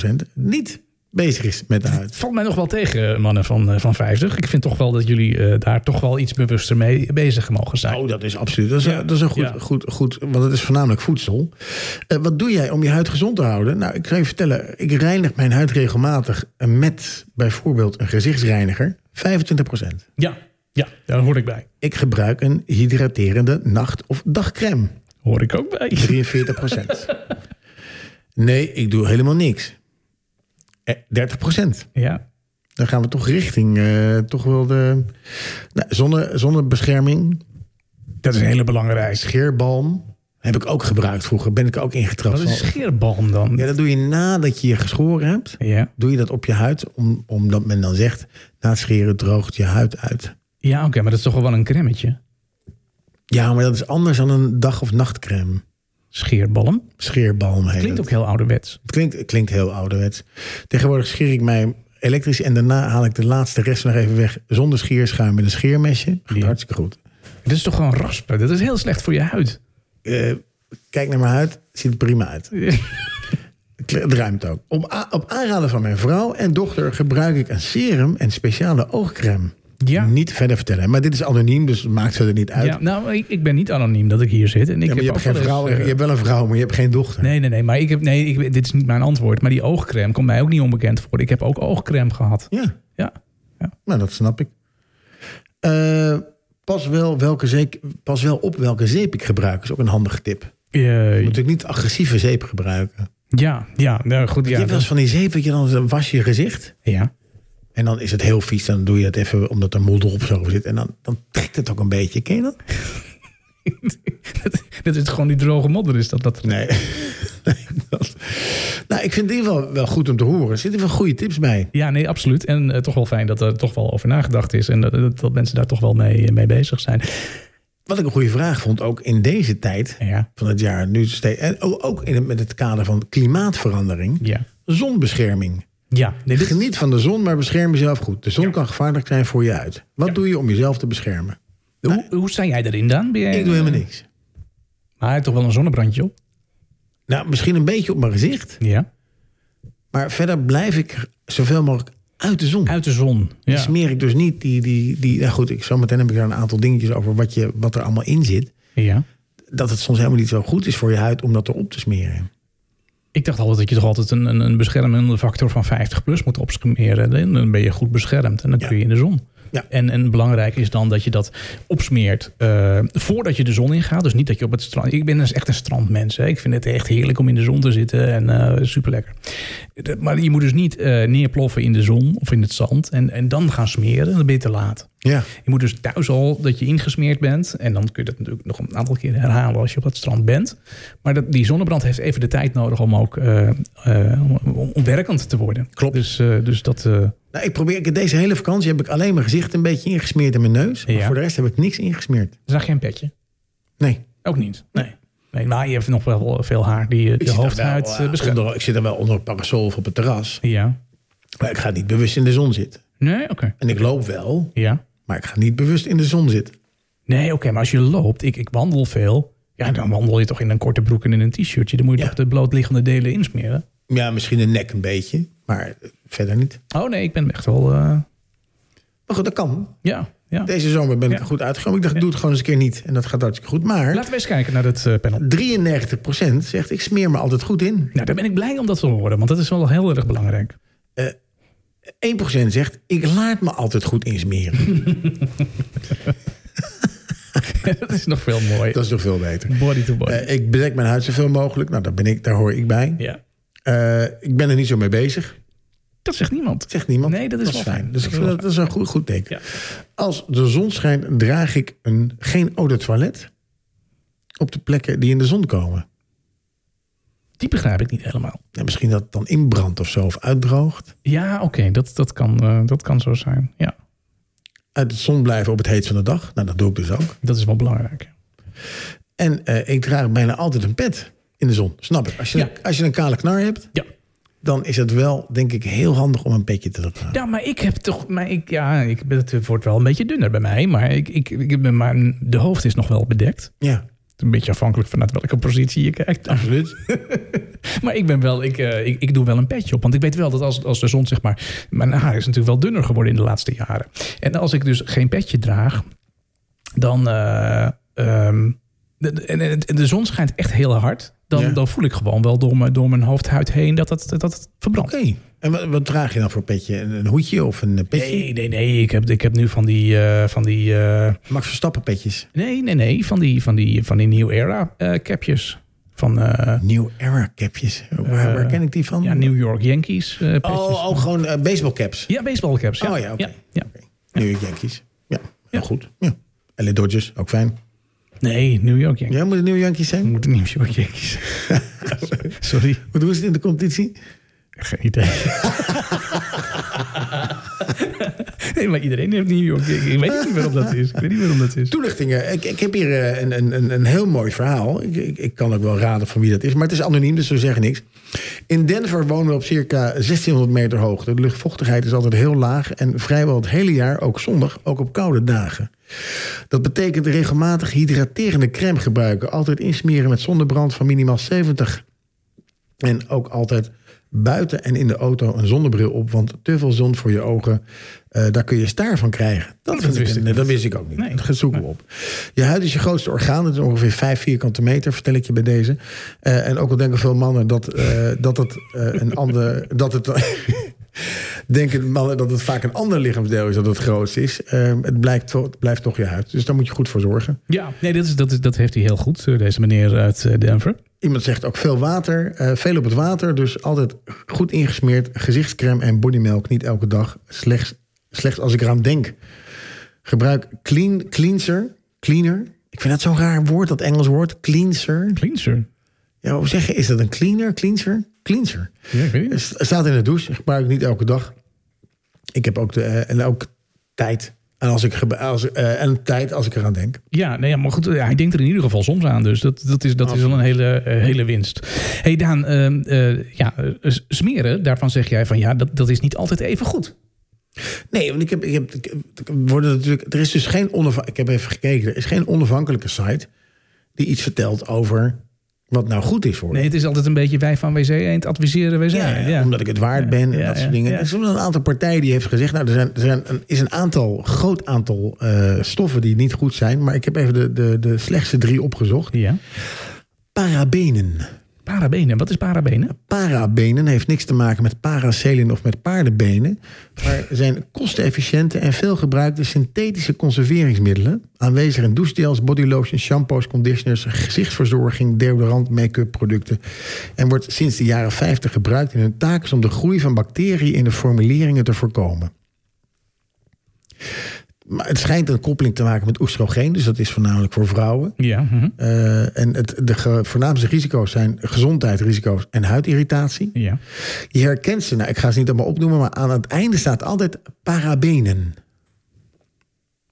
S2: 57% niet bezig is met de huid.
S1: valt mij nog wel tegen, eh, mannen van, eh, van 50. Ik vind toch wel dat jullie eh, daar toch wel iets bewuster mee bezig mogen zijn.
S2: Oh, dat is absoluut. Dat is, dat is een goed,
S1: Ja.
S2: goed, goed, want het is voornamelijk voedsel. Eh, wat doe jij om je huid gezond te houden? Nou, ik ga je vertellen. Ik reinig mijn huid regelmatig met bijvoorbeeld een gezichtsreiniger. 25%.
S1: Ja, ja, daar hoor ik bij.
S2: Ik gebruik een hydraterende nacht- of dagcreme.
S1: Hoor ik ook bij.
S2: 43 Nee, ik doe helemaal niks. Eh, 30
S1: Ja,
S2: Dan gaan we toch richting eh, toch wel de nou, zonne, zonnebescherming.
S1: dat is heel belangrijk.
S2: Scheerbalm heb ik ook gebruikt vroeger. Ben ik ook ingetrapt.
S1: Wat is
S2: Van.
S1: scheerbalm dan?
S2: Ja, dat doe je nadat je je geschoren hebt.
S1: Ja,
S2: Doe je dat op je huid, om, omdat men dan zegt... na het scheren droogt je huid uit.
S1: ja oké, maar dat is toch wel een cremmetje?
S2: Ja, maar dat is anders dan een dag- of nachtcreme.
S1: Scheerbalm?
S2: Scheerbalm heet
S1: Klinkt
S2: het.
S1: ook heel ouderwets.
S2: Het klinkt, het klinkt heel ouderwets. Tegenwoordig scheer ik mij elektrisch en daarna haal ik de laatste rest nog even weg zonder scheerschuim met een scheermesje. Gaat
S1: Ja.
S2: hartstikke goed.
S1: Dat is toch gewoon raspen? Dat is heel slecht voor je huid.
S2: Eh, kijk naar mijn huid, ziet er prima uit. Het het ruimt ook. Op, a- op aanraden van mijn vrouw en dochter gebruik ik een serum en speciale oogcreme.
S1: Ja.
S2: Niet verder vertellen. Maar dit is anoniem, dus het maakt ze er niet uit.
S1: Ja, nou, ik, ik ben niet anoniem dat ik hier zit. En ik
S2: Ja, maar je
S1: heb
S2: hebt,
S1: ook
S2: geen
S1: wel eens,
S2: vrouw,
S1: eh,
S2: je hebt wel een vrouw, maar je hebt geen dochter.
S1: Nee, nee, nee. Maar ik heb, nee, ik, dit is niet mijn antwoord. Maar die oogcrème komt mij ook niet onbekend voor. Ik heb ook oogcrème gehad.
S2: Ja,
S1: Ja.
S2: nou dat snap ik. Eh, pas, wel welke zeep, pas wel op welke zeep ik gebruik, is ook een handige tip. Je
S1: Eh,
S2: moet natuurlijk niet agressieve zeep gebruiken.
S1: ja, ja. Nou, goed,
S2: je hebt
S1: ja.
S2: wel
S1: dat-
S2: eens van die zeep dat je dan dan was je je gezicht.
S1: ja.
S2: En dan is het heel vies. Dan doe je het even omdat er modder op zo zit. En dan, dan trekt het ook een beetje. Ken je dat?
S1: dat, dat is gewoon die droge modder is dat. dat
S2: Nee. nee dat- Nou, ik vind het in ieder geval wel goed om te horen. Er zitten wel goede tips bij.
S1: Ja, nee, absoluut. En eh, toch wel fijn dat er toch wel over nagedacht is. En dat, dat, dat mensen daar toch wel mee, eh, mee bezig zijn.
S2: Wat ik een goede vraag vond, ook in deze tijd
S1: Ja,
S2: van het jaar. Nu steeds, en o- ook in het, met het kader van klimaatverandering.
S1: ja.
S2: Zonbescherming.
S1: Ja, nee, dit-
S2: Geniet van de zon, maar bescherm jezelf goed. De zon kan gevaarlijk zijn voor je uit. Wat doe je om jezelf te beschermen?
S1: hoe, hoe sta jij erin dan? Ben jij-
S2: Ik doe helemaal niks.
S1: Maar hij heeft toch wel een zonnebrandje op?
S2: Nou, misschien een beetje op mijn gezicht.
S1: Ja.
S2: Maar verder blijf ik zoveel mogelijk uit de zon.
S1: Uit de zon.
S2: Dan
S1: Ja.
S2: smeer ik dus niet die... die, die nou goed, ik, zometeen heb ik daar een aantal dingetjes over wat, je, wat er allemaal in zit.
S1: ja.
S2: Dat het soms helemaal niet zo goed is voor je huid om dat erop te smeren.
S1: Ik dacht altijd dat je toch altijd een, een, een beschermende factor van 50 plus moet opsmeren. Dan- Dan ben je goed beschermd en dan kun je in de zon.
S2: Ja.
S1: En, en belangrijk is dan dat je dat opsmeert eh, voordat je de zon ingaat. Dus niet dat je op het strand... Ik ben dus echt een strandmens. Hè. Ik vind het echt heerlijk om in de zon te zitten en eh superlekker. Dat- Maar je moet dus niet eh, neerploffen in de zon of in het zand. En, en dan gaan smeren, dan ben je te laat.
S2: Ja.
S1: Je moet dus thuis al dat je ingesmeerd bent. En dan kun je dat natuurlijk nog een aantal keer herhalen als je op het strand bent. Maar dat, die zonnebrand heeft even de tijd nodig om ook eh, eh, om- om ontwerkend te worden. Klopt. Dus, eh, dus dat. eh,
S2: Nou, ik probeer, ik- deze hele vakantie heb ik alleen mijn gezicht een beetje ingesmeerd en mijn neus. Maar
S1: Ja.
S2: voor de rest heb ik niks ingesmeerd.
S1: zag je een petje?
S2: Nee.
S1: Ook niet. Nee. nee. Maar je hebt nog wel veel haar die je de hoofdhuid eh, beschermt.
S2: onder, ik zit er wel onder een parasol of op het terras.
S1: Ja.
S2: Maar ik ga niet bewust in de zon zitten.
S1: Nee, oké.
S2: En ik loop wel,
S1: Ja.
S2: maar ik ga niet bewust in de zon zitten.
S1: Nee, oké. maar als je loopt, ik, ik wandel veel. Ja, dan wandel je toch in een korte broek en in een t-shirtje. Dan moet je
S2: Ja.
S1: toch de blootliggende delen insmeren.
S2: Ja, misschien de nek een beetje, maar verder niet.
S1: Oh nee, ik ben echt wel. eh,
S2: Maar goed, dat kan.
S1: ja. ja.
S2: Deze zomer ben ik
S1: Ja.
S2: er goed uitgekomen. Ik dacht, ik doe het gewoon eens een keer niet. En dat gaat hartstikke goed. Maar
S1: Laten we eens kijken naar het eh, panel.
S2: 93% zegt, ik smeer me altijd goed in.
S1: Nou, daar ben ik blij om dat te horen, want dat is wel heel erg belangrijk.
S2: 1% zegt, ik laat me altijd goed insmeren.
S1: dat is nog veel mooier.
S2: dat is toch veel beter.
S1: Body to body.
S2: Eh, ik bedek mijn huid zoveel mogelijk. Nou, daar, ben ik, daar hoor ik bij.
S1: ja.
S2: Eh, ik ben er niet zo mee bezig.
S1: Dat zegt niemand.
S2: Zegt niemand.
S1: Nee, dat is wel fijn.
S2: Dus
S1: Dat
S2: ik
S1: is
S2: vind
S1: wel
S2: dat, dat is een goed, goed teken.
S1: Ja.
S2: Als de zon schijnt, draag ik een, geen eau de toilet op de plekken die in de zon komen.
S1: Die begrijp ik niet helemaal.
S2: Ja, misschien dat het dan inbrandt of zo, of uitdroogt.
S1: Ja, oké, dat, dat, kan, eh, dat kan zo zijn. Ja,
S2: Uit de zon blijven op het heet van de dag. Nou, dat doe ik dus ook.
S1: dat is wel belangrijk.
S2: En eh, ik draag bijna altijd een pet in de zon. Snap ik. Als je,
S1: Ja.
S2: als je een kale knar hebt,
S1: Ja.
S2: dan is het wel, denk ik, heel handig om een petje te dragen.
S1: Ja, maar ik heb toch... Maar ik, ja, ik, ben- het wordt wel een beetje dunner bij mij. Maar, ik, ik, ik ben, maar de hoofd is nog wel bedekt.
S2: Ja,
S1: Een beetje afhankelijk vanuit welke positie je kijkt.
S2: absoluut.
S1: Maar ik ben wel, ik, eh, ik, ik doe wel een petje op. Want ik weet wel dat als, als de zon, zeg maar. Mijn haar is natuurlijk wel dunner geworden in de laatste jaren. En als ik dus geen petje draag, dan. eh, ehm, de- de- en en- en de zon schijnt echt heel hard. Dan,
S2: Ja.
S1: dan voel ik gewoon wel door mijn, door mijn hoofdhuid heen dat het, dat het verbrandt.
S2: Oké. En wat, wat draag je dan voor petje? Een, een hoedje of een eh, petje?
S1: Nee, nee, nee. Ik heb, ik heb nu van die. eh, van die eh,
S2: Max Verstappen petjes.
S1: nee, nee, nee. Van die, van die, van die New Era eh, capjes. Van eh,
S2: New Era capjes. Waar, waar ken ik die van?
S1: ja, New York Yankees. eh, petjes.
S2: Hmm. oh, oh, gewoon eh, baseball caps.
S1: Ja, baseball caps. Ja.
S2: Oh ja, oké.
S1: ja, ja.
S2: Oké. New York Yankees. Ja, heel goed. Ja. LA Dodgers, ook fijn.
S1: Nee, New York Yankees.
S2: Jij moet een New Yankees zijn?
S1: We moeten New York Yankees. Sorry,
S2: Hoe doen ze het in de competitie?
S1: geen idee. nee, maar iedereen heeft New York Yankees. Ik weet niet waarom dat is. Ik weet niet waarom dat is.
S2: Toelichtingen. Ik, ik heb hier eh, een, een- een, een heel mooi verhaal. Ik, ik, ik kan ook wel raden van wie dat is. Maar het is anoniem, dus we zeggen niks. In Denver wonen we op circa 1600 meter hoogte. De luchtvochtigheid is altijd heel laag. En vrijwel het hele jaar, ook zondag, ook op koude dagen. Dat betekent regelmatig hydraterende crème gebruiken. Altijd insmeren met zonnebrand van minimaal 70 En ook altijd buiten en in de auto een zonnebril op. Want te veel zon voor je ogen, eh, daar kun je staar van krijgen. Dat, vind
S1: Oh, wist ik
S2: ik, nee, dat wist ik ook niet.
S1: Nee.
S2: Dat zoeken we op. Je huid is je grootste orgaan. Dat is ongeveer vijf vierkante meter, vertel ik je bij deze. Eh, en ook al denken veel mannen dat, eh, dat het eh, een ander... dat het, denken mannen dat het vaak een ander lichaamsdeel is dat het grootste is. Eh, het, blijkt, to- het blijft toch je huid. Dus daar moet je goed voor zorgen.
S1: Ja, nee, dat, is, dat, is, dat heeft hij heel goed, eh, deze meneer uit eh, Denver.
S2: Iemand zegt ook veel water, eh, veel op het water. Dus altijd goed ingesmeerd. Gezichtscreme en bodymelk. Niet elke dag. Slechts, slechts als ik eraan denk. Gebruik clean, cleanser. Cleaner. Ik vind dat zo'n raar woord, dat Engels woord. Cleanser.
S1: Cleanser.
S2: Ja, hoe zeggen, is dat een cleaner? Cleanser? Cleanser.
S1: Ja, ik weet het niet.
S2: Het staat in de douche. Gebruik ik niet elke dag. Ik heb ook, de, eh, en ook tijd. En, als ik, gebe- als, eh, en tijd als ik eraan denk.
S1: Ja, nee, ja, maar goed, ja, hij denkt er in ieder geval soms aan. Dus dat, dat, is, dat is
S2: Oh.
S1: al een hele, eh, hele winst. hey Daan, ehm, eh, ja, eh, s- smeren, daarvan zeg jij van ja, dat, dat is niet altijd even goed.
S2: Nee, want ik heb, ik heb, ik- ik- worden natuurlijk, er is dus geen onafhankelijke. Ik heb even gekeken, er is geen onafhankelijke site die iets vertelt over wat nou goed is voor.
S1: Nee,
S2: je.
S1: het is altijd een beetje wij van WC Eend adviseren WC
S2: Ja,
S1: Eend.
S2: omdat ik het waard ben en
S1: Ja,
S2: dat soort
S1: ja,
S2: dingen.
S1: ja.
S2: Er is wel een aantal partijen die heeft gezegd... nou, er, zijn, er zijn een, is een aantal, groot aantal eh, stoffen die niet goed zijn... maar ik heb even de, de, de slechtste drie opgezocht.
S1: Ja.
S2: Parabenen.
S1: Parabenen, wat is parabenen?
S2: Parabenen heeft niks te maken met paracelen of met paardenbenen, maar zijn kostenefficiënte en veelgebruikte synthetische conserveringsmiddelen aanwezig in douchegels, bodylotions, shampoos, conditioners, gezichtsverzorging, deodorant, make-up producten en wordt sinds de jaren 50 gebruikt in hun taak is om de groei van bacteriën in de formuleringen te voorkomen. Maar het schijnt een koppeling te maken met oestrogeen, dus dat is voornamelijk voor vrouwen.
S1: Ja. mhm.
S2: Eh, en het, de ge- voornaamste risico's zijn gezondheidsrisico's en huidirritatie.
S1: ja.
S2: Je herkent ze, nou, ik ga ze niet allemaal opnoemen, maar aan het einde staat altijd parabenen.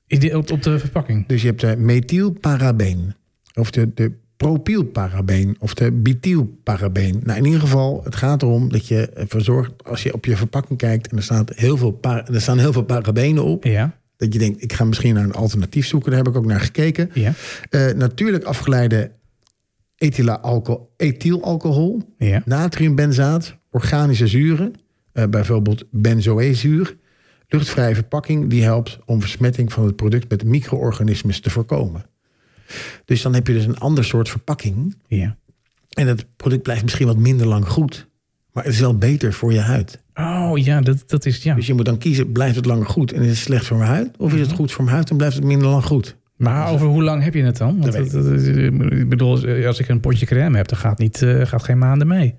S1: Is die op, op de verpakking?
S2: Dus je hebt de methylparabeen, of de, de propylparabeen, of de bethylparabeen. Nou, in ieder geval, het gaat erom dat je ervoor zorgt, als je op je verpakking kijkt en er, staat heel veel par- er staan heel veel parabenen op,
S1: Ja.
S2: dat je denkt, ik ga misschien naar een alternatief zoeken. Daar heb ik ook naar gekeken.
S1: Ja.
S2: Eh, natuurlijk afgeleide ethylalcohol, ethylalcohol
S1: Ja.
S2: natriumbenzaat, organische zuren, eh, bijvoorbeeld benzoezuur, luchtvrije verpakking, die helpt om besmetting van het product met micro-organismes te voorkomen. Dus dan heb je dus een ander soort verpakking
S1: Ja.
S2: en het product blijft misschien wat minder lang goed, maar het is wel beter voor je huid.
S1: Oh ja, dat, dat is ja.
S2: Dus je moet dan kiezen, blijft het langer goed en is het slecht voor mijn huid? Of is
S1: Mhm.
S2: het goed voor mijn huid en blijft het minder lang goed?
S1: Maar over hoe lang heb je het dan? Want
S2: Dat weet
S1: dat- dat- ik bedoel, als ik een potje crème heb, dan gaat, niet, eh, gaat geen maanden mee.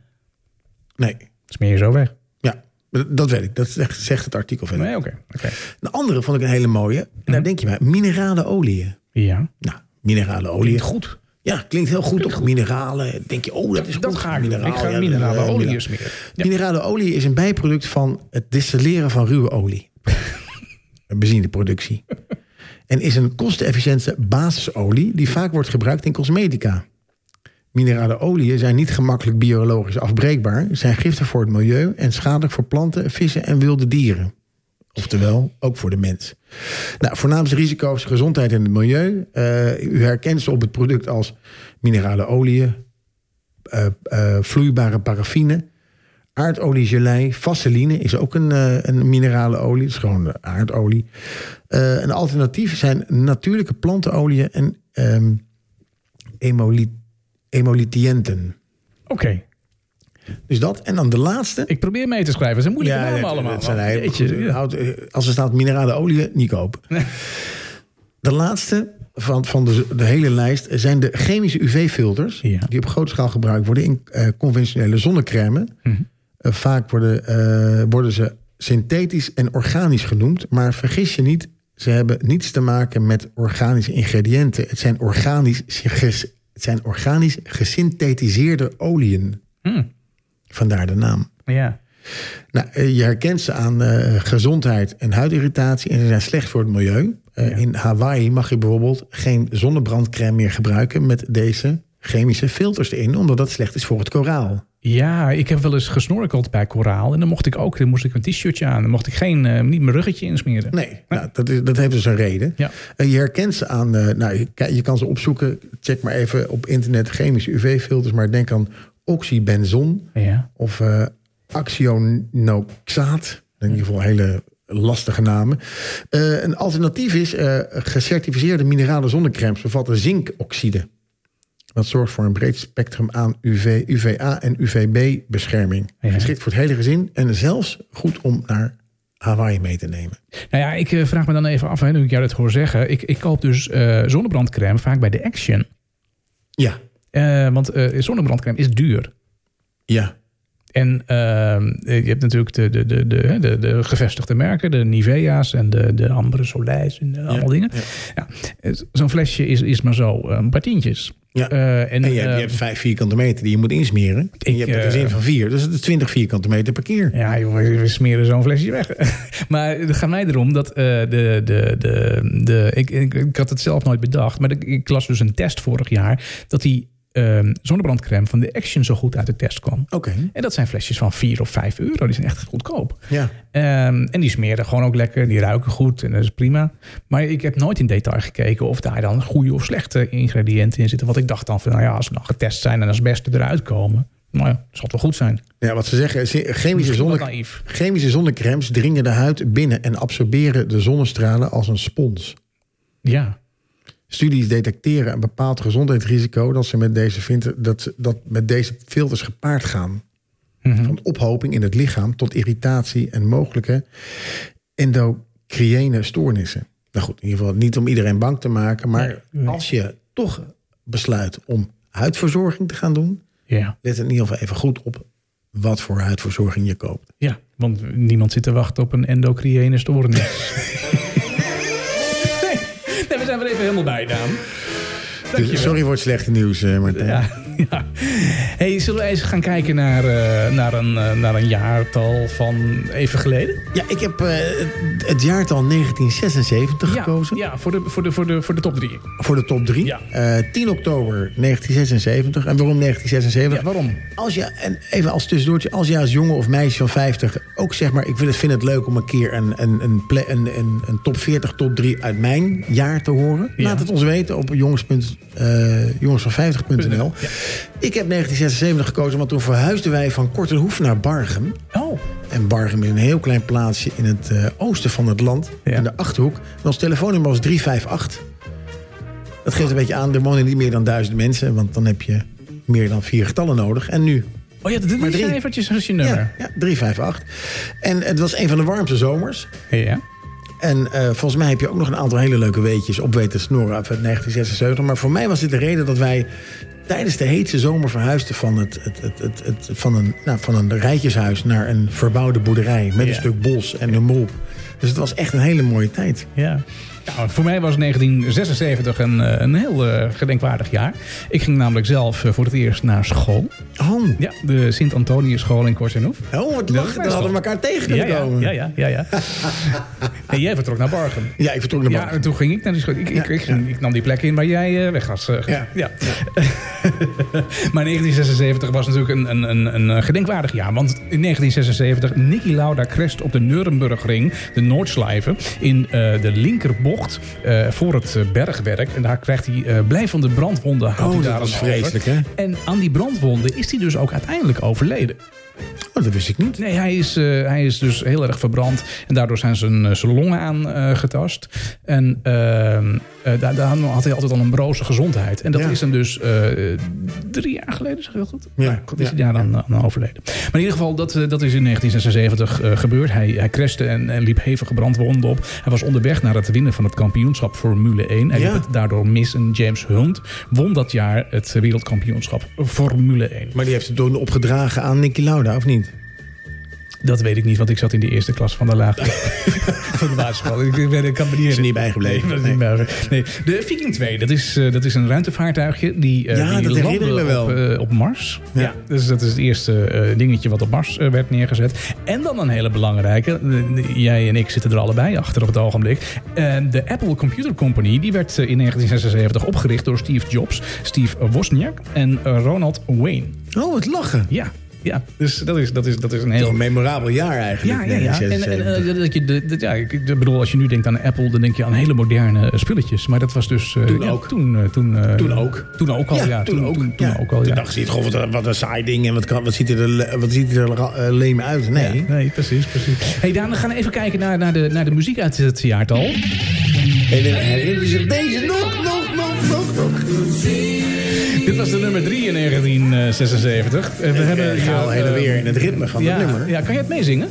S2: Nee,
S1: Smeer je zo weg.
S2: ja, dat weet ik. Dat zegt zegt het artikel verder.
S1: Nee, Mhm. oké. oké.
S2: De andere vond ik een hele mooie. En daar denk je bij, minerale oliën.
S1: Ja.
S2: Nou, minerale oliën.
S1: Klinkt goed.
S2: Ja, klinkt heel goed. Toch mineralen. Denk je, oh, dat is
S1: Dat
S2: goed.
S1: ga ik doen. Ik ga
S2: ja,
S1: minerale
S2: eh,
S1: olie
S2: minera-
S1: smeren. Ja.
S2: Minerale olie is een bijproduct van het distilleren van ruwe olie. Een benzineproductie. En is een kostenefficiënte basisolie die vaak wordt gebruikt in cosmetica. Minerale oliën zijn niet gemakkelijk biologisch afbreekbaar, zijn giftig voor het milieu en schadelijk voor planten, vissen en wilde dieren. Oftewel, ook voor de mens. Nou, voornaamste risico's, gezondheid en het milieu. Eh, u herkent ze op het product als minerale oliën, eh, eh, vloeibare paraffine, aardoliegelei, vaseline is ook een, eh, een minerale olie, het is gewoon eh, aardolie. Eh, een alternatief zijn natuurlijke plantenolieën en ehm emoli- emolitiënten.
S1: Oké.
S2: Dus dat. En dan de laatste.
S1: Ik probeer mee te schrijven. Ze zijn moeilijke namen
S2: dat-
S1: allemaal.
S2: dat zijn
S1: man.
S2: hele
S1: Jeetje,
S2: goede-
S1: ja.
S2: houd, eh, Als er staat minerale olie, niet koop. De laatste van, van de, de hele lijst zijn de chemische UV-filters...
S1: Ja.
S2: die op grote schaal gebruikt worden in eh, conventionele zonnecrème.
S1: Mhm.
S2: Eh, vaak worden, eh, worden ze synthetisch en organisch genoemd. Maar vergis je niet, ze hebben niets te maken met organische ingrediënten. Het zijn organisch, ges- het zijn organisch gesynthetiseerde oliën.
S1: Hmm.
S2: Vandaar de naam.
S1: Ja.
S2: Nou, eh, je herkent ze aan eh, gezondheid en huidirritatie en ze zijn slecht voor het milieu. Eh, In Hawaii mag je bijvoorbeeld geen zonnebrandcrème meer gebruiken met deze chemische filters erin, omdat dat slecht is voor het koraal.
S1: Ja, ik heb wel eens gesnorkeld bij koraal. En dan mocht ik ook, dan moest ik een t-shirtje aan. Dan mocht ik geen, eh, niet mijn ruggetje insmeren.
S2: Nee, nou, dat, is, dat heeft dus een reden.
S1: Ja.
S2: Eh, je herkent ze aan, eh, nou, je, ka- je kan ze opzoeken. Check maar even op internet chemische UV-filters, maar denk aan oxybenzon
S1: Ja.
S2: of eh actionoxaat. In ieder geval hele lastige namen. Eh, een alternatief is eh, gecertificeerde minerale zonnecremes bevatten zinkoxide. Dat zorgt voor een breed spectrum aan UV, UVA en UVB bescherming.
S1: Ja.
S2: Geschikt voor het hele gezin en zelfs goed om naar Hawaii mee te nemen.
S1: Nou ja, ik eh, vraag me dan even af, hè, nu ik jou dat hoor zeggen. Ik, ik koop dus eh, zonnebrandcrème vaak bij de Action.
S2: Ja,
S1: Eh, want eh zonnebrandcrème is duur.
S2: ja.
S1: En ehm, je hebt natuurlijk de, de, de, de, hè, de, de gevestigde merken, de Nivea's en de, de Ambre Soleil's en eh, allemaal dingen.
S2: ja.
S1: Ja. eh, Zo'n flesje is, is maar zo eh, een paar tientjes.
S2: Ja.
S1: Eh,
S2: En je hebt,
S1: eh,
S2: je hebt vijf vierkante meter die je moet insmeren. En je
S1: Ik,
S2: hebt een
S1: eh,
S2: gezin van vier. Dus dat is 20 vierkante meter per keer.
S1: Ja, joh, we we smeren zo'n flesje weg. maar het gaat mij erom dat eh, de. de, de, de ik, ik, ik had het zelf nooit bedacht, maar ik, ik las dus een test vorig jaar. dat die ehm, zonnebrandcrème van de Action zo goed uit de test kwam.
S2: Oké,
S1: En dat zijn flesjes van 4 of 5 euro. Die zijn echt goedkoop.
S2: ja.
S1: Ehm, en die smeren gewoon ook lekker. Die ruiken goed en dat is prima. Maar ik heb nooit in detail gekeken of daar dan goede of slechte ingrediënten in zitten. Want ik dacht dan van, nou ja, als ze dan getest zijn en als beste eruit komen. Nou ja, zal het wel goed zijn.
S2: ja, wat ze zeggen, ze- chemische,
S1: Misschien wat
S2: zonne,
S1: naïef.
S2: chemische zonnecremes dringen de huid binnen en absorberen de zonnestralen als een spons.
S1: Ja.
S2: Studies detecteren een bepaald gezondheidsrisico dat ze met deze, vinter- dat, ze- dat met deze filters gepaard gaan.
S1: Mhm.
S2: Van ophoping in het lichaam tot irritatie en mogelijke endocrine stoornissen. Nou goed, in ieder geval niet om iedereen bang te maken, maar
S1: Nee, nee.
S2: als je toch besluit om huidverzorging te gaan doen,
S1: Ja.
S2: let in ieder geval even goed op wat voor huidverzorging je koopt.
S1: ja, want niemand zit te wachten op een endocrine stoornis. nee, we zijn er even helemaal bij, Daan.
S2: Dus, sorry voor het slechte nieuws, eh, Martijn.
S1: Ja, ja. Hey, zullen we eens gaan kijken naar, eh, naar, een, eh, naar een jaartal van even geleden?
S2: Ja, ik heb eh, het- het jaartal 1976 gekozen
S1: Ja, ja voor, de, voor, de, voor, de, voor de top drie.
S2: voor de top 3.
S1: Ja.
S2: 10 oktober 1976. En waarom 1976?
S1: Ja, waarom?
S2: Als je, en even als tussendoortje, als je als jongen of meisje van 50 ook zeg maar, ik vind het, vind het leuk om een keer een, een, een, ple- een, een, een top 40, top 3 uit mijn jaar te horen.
S1: Ja.
S2: Laat het ons weten op jongens, eh jongensvan50.nl.
S1: Ja.
S2: Ik heb 1976 gekozen, want toen verhuisden wij van Kortenhoef naar Bargem.
S1: Oh,
S2: En Bargem is een heel klein plaatsje in het eh, oosten van het land.
S1: Ja.
S2: In de Achterhoek. En ons telefoonnummer was 358. Dat geeft een beetje aan, er wonen niet meer dan duizend mensen. Want dan heb je meer dan vier getallen nodig. En nu?
S1: oh ja, dit
S2: Maar
S1: is
S2: drie.
S1: eventjes als je
S2: Ja,
S1: nummer.
S2: ja, 358. En het was een van de warmste zomers.
S1: Ja. ja.
S2: En eh, volgens mij heb je ook nog een aantal hele leuke weetjes op weten te snoren uit 1976. Maar voor mij was dit de reden dat wij tijdens de heetste zomer verhuisden van, het, het, het, het, het- van, een, nou, van een rijtjeshuis naar een verbouwde boerderij. Met
S1: Ja.
S2: een stuk bos en een mol. Dus het was echt een hele mooie tijd.
S1: Nou, voor mij was 1976 een, eh, een heel eh, gedenkwaardig jaar. Ik ging namelijk zelf eh, voor het eerst naar school.
S2: Oh,
S1: Ja, de Sint-Antonius-school in Korsenhoef.
S2: oh wat lachen. Dan hadden we elkaar tegen kunnen
S1: ja,
S2: komen.
S1: Ja, ja, ja. ja. en eh, jij vertrok naar Bargen.
S2: Ja, ik vertrok naar
S1: Ja,
S2: boven.
S1: en toen ging ik naar die school. Ik, ik, ik, ging- ik nam die plek in waar jij eh, weg was. eh,
S2: Ja.
S1: ja. maar 1976 was natuurlijk een, een, een, een eh, gedenkwaardig jaar. Want in 1976 Niki Lauda crasht op de Nurembergring, de Noordslijven, in eh, de linkerbocht eh, voor het eh, bergwerk. En daar krijgt hij eh, blijvende brandwonden. houdt hij
S2: Oh, dat
S1: daar
S2: was
S1: aan over.
S2: vreselijk, hè?
S1: En aan die brandwonden is hij dus ook uiteindelijk overleden.
S2: Oh, dat wist ik niet.
S1: Nee, hij is, eh, hij is dus heel erg verbrand. En daardoor zijn zijn, eh, zijn longen aangetast. en eh, eh, daar, daar had hij altijd al een broze gezondheid. En dat
S2: Ja.
S1: is hem dus eh, drie jaar geleden, zeg ik dat goed?
S2: Ja.
S1: Nou, goed, is
S2: Ja.
S1: hij daar aan, aan overleden. Maar in ieder geval, dat, eh, dat is in 1976 eh, gebeurd. Hij, hij crashte en, en liep hevige brandwonden op. Hij was onderweg naar het winnen van het kampioenschap Formule 1. Hij
S2: Ja.
S1: liep het daardoor mis. En James Hunt won dat jaar het wereldkampioenschap Formule 1.
S2: Maar die heeft het toen opgedragen aan Nicky Lauda, of niet?
S1: Dat weet ik niet, want ik zat in de eerste klas van de lagere van de basisschool. Ik, ik, ben- ik kan me niet
S2: Is er niet
S1: Nee,
S2: bijgebleven.
S1: dat is niet meer. Nee, de Viking 2, dat is, eh, dat is een ruimtevaartuigje. Die, eh,
S2: Ja,
S1: die
S2: dat
S1: landde
S2: herinner ik me wel.
S1: Op, eh, op Mars.
S2: Ja.
S1: Ja. dus dat is het eerste eh, dingetje wat op Mars eh, werd neergezet. En dan een hele belangrijke. eh, jij en ik zitten er allebei achter op het ogenblik. Eh, de Apple Computer Company die werd eh, in 1976 opgericht door Steve Jobs, Steve Wozniak en eh, Ronald Wayne.
S2: Oh, het lachen.
S1: Ja. Ja, dus dat is, dat is, dat is een heel...
S2: Een memorabel jaar eigenlijk.
S1: Ja, ja, ja. En,
S2: 1976.
S1: en eh, dat je de, dat- ja, ik ik bedoel, als je nu denkt aan Apple, dan denk je aan hele moderne eh, spulletjes. Maar dat was dus... eh,
S2: Toen
S1: ja,
S2: ook.
S1: Toen, eh, toen, eh,
S2: Toen ook.
S1: Toen ook al, ja. Toen, toen, toen,
S2: ja.
S1: ook al,
S2: Toen
S1: ja.
S2: dacht je, het, gewoon, wat, een- wat een saai ding en wat, kan, wat ziet er, le- wat ziet er ra- eh, leem uit. Nee.
S1: Nee, precies, precies. hey Daan, we gaan even kijken naar, naar, de, naar de muziek uit het jaartal.
S2: En dan herinner je zich deze nog, nog, nog, nog, nog.
S1: Dit was de nummer 3 in 1976. En we hebben
S2: Ik ga al
S1: eh,
S2: heen en weer in het ritme van
S1: Ja,
S2: het nummer.
S1: ja, kan je het meezingen?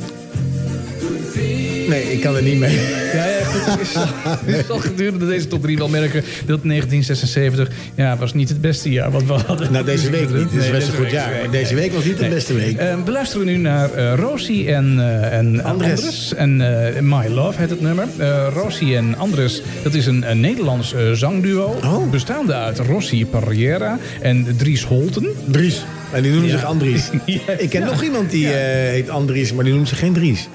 S2: Nee, ik kan er niet mee.
S1: Ja, ja, goed. Je zal- Je zal gedurende deze top 3 wel merken dat 1976 ja, was niet het beste jaar wat we hadden.
S2: Nou, deze week niet. Het is
S1: Nee,
S2: best een
S1: deze
S2: goed
S1: week-
S2: jaar.
S1: nee,
S2: Maar deze week was niet de beste week.
S1: Eh, we luisteren nu naar eh Rosie en, eh, en
S2: Andres.
S1: Andres. En eh, My Love heet het nummer. Eh Rosie en Andres, dat is een, een Nederlands eh, zangduo.
S2: Oh.
S1: Bestaande uit Rosie Parriera en Dries Holten.
S2: Dries. En die noemen zich Andries.
S1: Ja.
S2: Ik ken nog iemand die eh, heet Andries, maar die noemt zich geen Dries.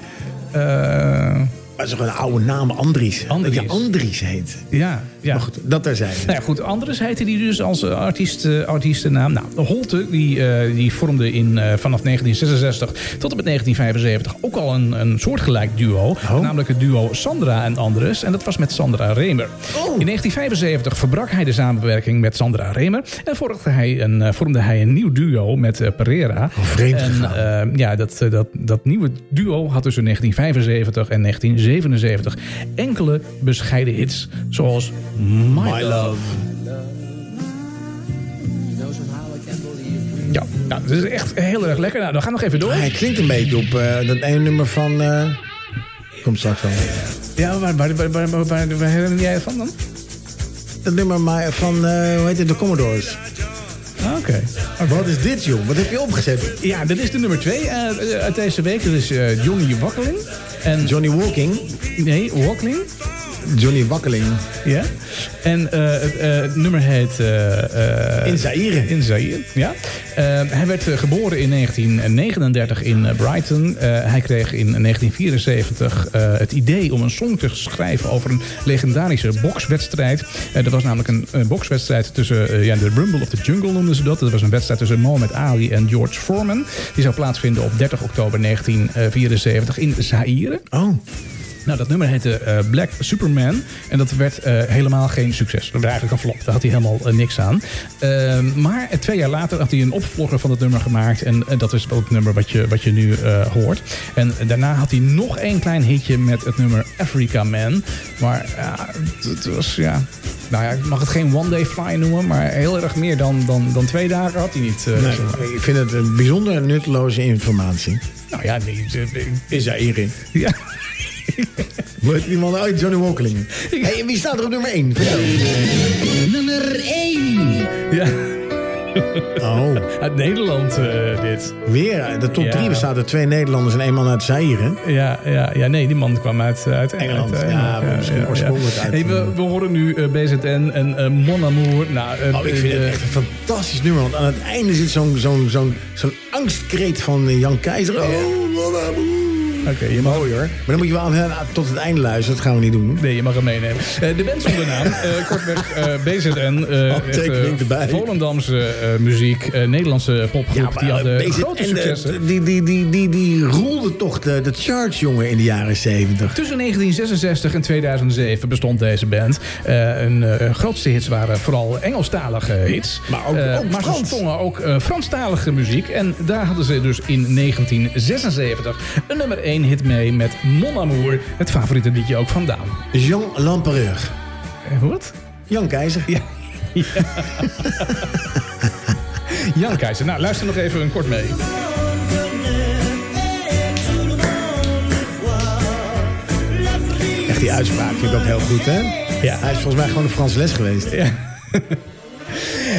S1: Eh,
S2: Maar dat is toch een oude naam, Andries.
S1: Andries.
S2: Dat je Andries heet.
S1: ja, ja.
S2: Maar goed, dat daar zijn.
S1: Nou ja, goed, Andres heette die dus als eh, artiest, eh, artiestennaam. Nou, Holte die, eh, die vormde in, eh, vanaf 1966 tot en met 1975 ook al een, een soortgelijk duo.
S2: Oh.
S1: Namelijk het duo Sandra en Andres. En dat was met Sandra Remer.
S2: Oh.
S1: In 1975 verbrak hij de samenwerking met Sandra Remer. En vormde hij een, eh, vormde hij een nieuw duo met eh, Pereira.
S2: Oh, vreemd
S1: en,
S2: gegaan.
S1: eh, ja, dat, eh, dat, dat nieuwe duo had tussen 1975 en 1977 enkele bescheiden hits. Zoals My,
S2: My love.
S1: Ja, nou, dat is echt heel erg lekker. Nou, dan gaan we nog even door.
S2: Ah, Hij klinkt een beetje op eh, dat ene nummer van... eh, Komt straks wel.
S1: Ja, waar, waar, waar, waar, waar, waar, waar herinner jij je van dan?
S2: Dat nummer maar van, eh, hoe heet het, de Commodores.
S1: Ah, Oké.
S2: Wat is dit, joh? Wat heb je opgezet?
S1: Ja, dat is de nummer twee eh, uit deze week. Dat is eh, Johnny Wakkeling. En,
S2: Johnny Walking.
S1: nee, Wakkeling.
S2: Johnny Wakkeling.
S1: Ja. En eh, het eh, het nummer heet... eh, eh,
S2: In Zaire.
S1: in Zaire, ja. Eh, hij werd eh, geboren in 1939 in eh, Brighton. Eh, hij kreeg in 1974 eh, het idee om een song te schrijven over een legendarische bokswedstrijd. Eh, dat was namelijk een, eh, bokswedstrijd tussen eh, ja, de Rumble of the Jungle noemden ze dat. Dat was een wedstrijd tussen Mohamed Ali en George Foreman. Die zou plaatsvinden op 30 oktober 1974 in Zaire.
S2: Oh,
S1: Nou, dat nummer heette eh, Black Superman. En dat werd eh, helemaal geen succes. Dat werd eigenlijk een flop. Daar had hij helemaal eh, niks aan. Ehm, maar eh, twee jaar later had hij een opvolger van dat nummer gemaakt. En eh, dat is ook het nummer wat je, wat je nu eh, hoort. En daarna had hij nog één klein hitje met het nummer Africa Man. Maar ja, het- het was ja... Nou ja, ik mag het geen One Day Fly noemen. Maar heel erg meer dan, dan, dan twee dagen had hij niet. eh,
S2: nee,
S1: zeg maar.
S2: nou, ik vind het een bijzonder nutteloze informatie.
S1: Nou ja, nee, eh, ik-
S2: In Zaire.
S1: ja.
S2: Hoe heet die man? Oh, Johnny Walkeling. Hey, en wie staat er op nummer 1? Nummer 1!
S1: ja.
S2: Oh,
S1: Uit Nederland eh, dit.
S2: weer. De top
S1: Ja.
S2: 3 bestaat uit twee Nederlanders en één man uit Zaire.
S1: Ja, ja, ja, nee, die man kwam uit, uit
S2: Engeland.
S1: uit, eh,
S2: Ja, maar misschien oorspronkelijk uit-
S1: Hey, we, we horen nu eh, BZN en eh Mon Amour. Nou, eh,
S2: Oh, ik vind het
S1: eh,
S2: echt een fantastisch nummer. Want aan het einde zit zo'n zo'n zo'n zo'n angstkreet van eh, Jan Keizer. Oh, wat een boel.
S1: Oké, je mag-
S2: Mooi hoor. Maar dan moet je wel aan- aan- tot het einde luisteren. Dat gaan we niet doen.
S1: Nee, je mag hem meenemen. Eh, de band zonder naam, eh, kortweg eh, BZN. eh,
S2: Handtekening
S1: echt, eh,
S2: Oh, erbij.
S1: Volendamse eh, muziek, eh, Nederlandse popgroep. die hadden
S2: eh, BZN,
S1: grote
S2: eh,
S1: successen.
S2: Die, die, die, die, die roelde toch de, de charts, jongen, in de jaren 70.
S1: Tussen 1966 en 2007 bestond deze band. Eh hun eh, grootste hits waren vooral Engelstalige hits.
S2: Maar ook-
S1: Eh,
S2: ook
S1: maar
S2: Frans.
S1: ze zongen ook eh, Franstalige muziek. En daar hadden ze dus in 1976 een nummer 1 hit mee met Mon Amour. Het favoriete liedje ook van Daan.
S2: Jean Lampereur.
S1: Eh, wat?
S2: Jan Keizer.
S1: Ja. Jan Keizer. Nou, luister nog even een kort mee.
S2: Echt die uitspraak vind ik ook heel goed, hè?
S1: Ja.
S2: Hij is volgens mij gewoon een Frans les geweest.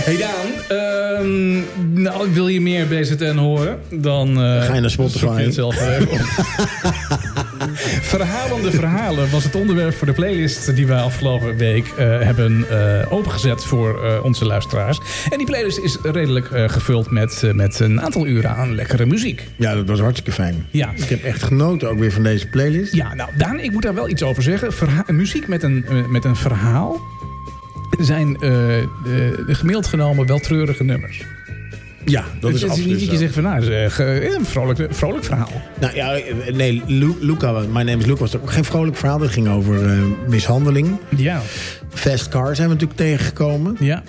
S1: Hey Daan, ehm, nou, wil je meer BZN horen? Dan eh,
S2: Ga je naar Spotify.
S1: zoek je het zelf maar even op. Verhalende verhalen was het onderwerp voor de playlist die wij afgelopen week eh, hebben eh, opengezet voor eh, onze luisteraars. En die playlist is redelijk eh, gevuld met, eh, met een aantal uren aan lekkere muziek.
S2: Ja, dat was hartstikke fijn.
S1: Ja.
S2: Ik heb echt genoten ook weer van deze playlist.
S1: Ja, nou Daan, ik moet daar wel iets over zeggen. Verha- muziek met een, eh, met een verhaal zijn eh, eh, gemiddeld genomen wel treurige nummers.
S2: Ja, dat is
S1: het is
S2: absoluut
S1: niet dat je
S2: zo.
S1: zegt van, nou, zeg, eh, een vrolijk, vrolijk verhaal.
S2: Nou ja, eh, nee, Lu- Luca, My Name is Luca was ook geen vrolijk verhaal. Dat ging over eh, mishandeling.
S1: Ja,
S2: Fast Car zijn we natuurlijk tegengekomen.
S1: ja,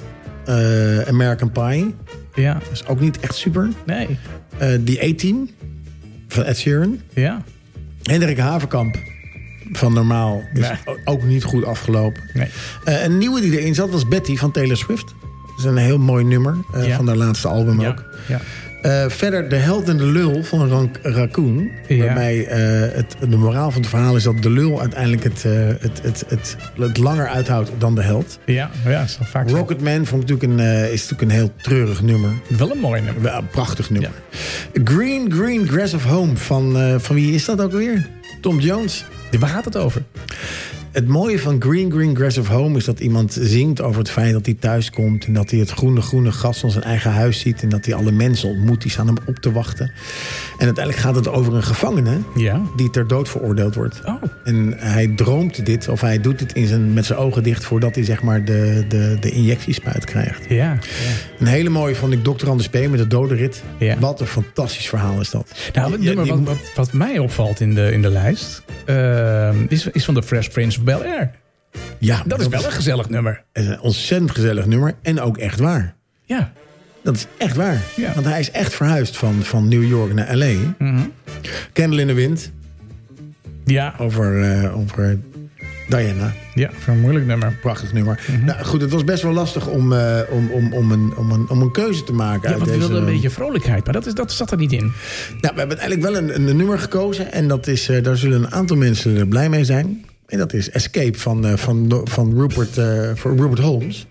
S2: Eh, American Pie,
S1: ja,
S2: dat is ook niet echt super.
S1: nee,
S2: Eh The A-Team van Ed Sheeran.
S1: ja,
S2: Hendrik Haverkamp van Normaal is
S1: Nee.
S2: o- ook niet goed afgelopen.
S1: nee.
S2: Eh, een nieuwe die erin zat was Betty van Taylor Swift. Dat is een heel mooi nummer eh,
S1: Ja.
S2: van haar laatste album
S1: Ja,
S2: ook.
S1: ja,
S2: Eh, verder De Held en de Lul van een rank- raccoon.
S1: Ja.
S2: Waarbij eh, het, de moraal van het verhaal is dat de lul uiteindelijk het, eh, het, het, het, het langer uithoudt dan de held.
S1: ja, ja, dat is wel vaak zo.
S2: Rocketman vond ik natuurlijk een, eh, is natuurlijk een heel treurig nummer.
S1: Wel een mooi nummer.
S2: Wel, Een prachtig nummer. Green Green Grass of Home van, eh, van wie is dat ook weer? Tom Jones.
S1: Waar gaat het over?
S2: Het mooie van Green Green Grass of Home is dat iemand zingt over het feit dat hij thuis komt. En dat hij het groene groene gras van zijn eigen huis ziet. En dat hij alle mensen ontmoet die staan hem op te wachten. En uiteindelijk gaat het over een gevangene
S1: Ja.
S2: die ter dood veroordeeld wordt.
S1: Oh,
S2: En hij droomt dit, of hij doet dit in zijn, met zijn ogen dicht voordat hij zeg maar de, de, de injectiespuit krijgt.
S1: ja.
S2: Een hele mooie vond ik Dr. Anders P. met de dode rit.
S1: Ja.
S2: Wat een fantastisch verhaal is dat.
S1: Nou, het
S2: Ja,
S1: nummer
S2: die
S1: wat,
S2: moet-
S1: wat, wat mij opvalt in de, in de lijst ehm, is, is van de Fresh Prince of Bel-Air.
S2: ja,
S1: Dat is wel een gezellig nummer.
S2: is een ontzettend gezellig nummer en ook echt waar.
S1: Ja.
S2: Dat is echt waar.
S1: Ja. Mhm.
S2: Want hij is echt verhuisd van, van New York naar L.A. Candle in the Wind
S1: Ja,
S2: over, eh, over Diana.
S1: ja, voor een moeilijk nummer.
S2: Prachtig nummer.
S1: Mhm.
S2: Nou goed, het was best wel lastig om, eh, om, om, om, een, om, een, om een keuze te maken.
S1: Ja,
S2: uit
S1: want we
S2: deze,
S1: wilden een beetje vrolijkheid, maar dat, is, dat zat er niet in.
S2: Nou, we hebben uiteindelijk wel een, een nummer gekozen. En dat is, eh, daar zullen een aantal mensen eh, blij mee zijn. En dat is Escape van, eh, van, van Rupert, eh, van Rupert Holmes.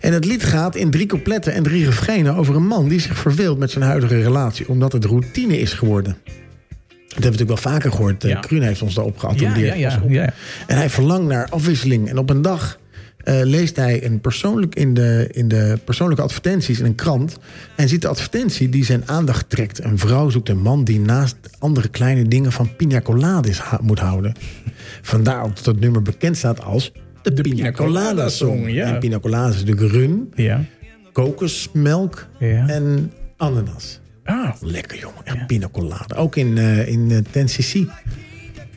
S2: En het lied gaat in drie coupletten en drie refreinen over een man die zich verveelt met zijn huidige relatie. Omdat het routine is geworden. Dat hebben we natuurlijk wel vaker gehoord. Eh,
S1: Ja.
S2: Kruun heeft ons daarop
S1: Ja,
S2: geattendeerd.
S1: ja, ja. ja.
S2: En hij verlangt naar afwisseling. En op een dag eh, leest hij een persoonlijk in, de, in de persoonlijke advertenties in een krant. En ziet de advertentie die zijn aandacht trekt. Een vrouw zoekt een man die naast andere kleine dingen van pina colades ha- moet houden. Vandaar ook dat het nummer bekend staat als de,
S1: De
S2: pina colada song.
S1: ja.
S2: En pina colada is natuurlijk rum,
S1: ja.
S2: kokosmelk
S1: Ja.
S2: en ananas.
S1: Ah,
S2: Lekker jongen, echt pina colada. Ook in, eh in eh, 10cc.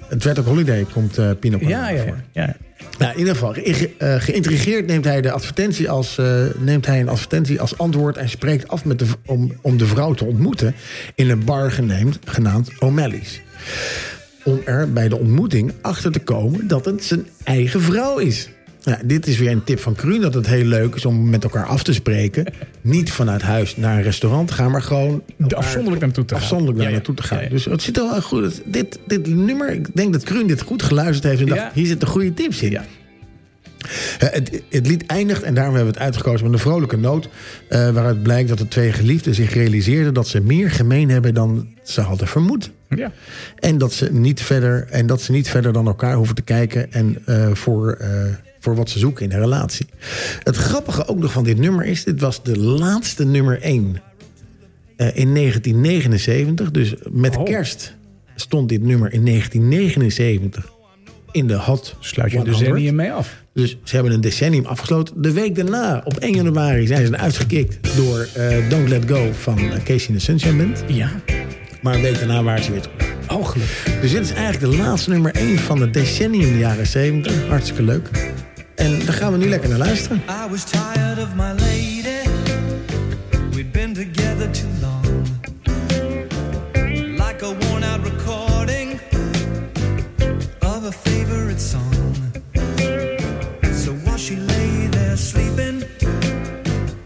S2: Het werd ook holiday, komt eh pina
S1: ja,
S2: colada
S1: ja,
S2: voor.
S1: ja. ja.
S2: Nou, in ieder geval, ge- eh, geïntrigeerd neemt hij, de advertentie als, eh, neemt hij een advertentie als antwoord... en spreekt af met de, v- om, om de vrouw te ontmoeten in een bar geneemd, genaamd O'Malley's. Om er bij de ontmoeting achter te komen dat het zijn eigen vrouw is. Nou, dit is weer een tip van Kruun, dat het heel leuk is om met elkaar af te spreken. Niet vanuit huis naar een restaurant te gaan, maar gewoon... elkaar
S1: afzonderlijk naartoe te gaan.
S2: Afzonderlijk daar
S1: Ja, ja.
S2: naartoe te gaan.
S1: Ja, ja.
S2: Dus het zit wel goed. Het- Dit, dit nummer, ik denk dat Kruun dit goed geluisterd heeft... en dacht,
S1: Ja.
S2: hier zitten goede tips in.
S1: Ja.
S2: Eh, Het, het lied eindigt, en daarom hebben we het uitgekozen, met een vrolijke noot. eh, waaruit blijkt dat de twee geliefden zich realiseerden dat ze meer gemeen hebben dan ze hadden vermoed.
S1: ja.
S2: En dat ze niet verder, en dat ze niet verder dan elkaar hoeven te kijken en, eh, voor, eh, voor wat ze zoeken in een relatie. Het grappige ook nog van dit nummer is: dit was de laatste nummer 1 in 1979. Dus met
S1: Oh.
S2: kerst stond dit nummer in 1979 in de Hot
S1: Sluit je
S2: 100.
S1: de hier mee af.
S2: Dus ze hebben een decennium afgesloten. De week daarna, op 1 januari, zijn ze uitgekikt door eh, Don't Let Go van eh, Casey and the Sunshine Band.
S1: Ja.
S2: Maar een week daarna waren ze weer terug.
S1: Oh, gelukkig.
S2: Dus dit is eigenlijk de laatste nummer 1 van het decennium de jaren 70. Hartstikke leuk. En daar gaan we nu lekker naar luisteren.
S3: I was tired of my lady. We'd been together too long. Like a worn out recording of a favorite song. So while she lay there sleeping,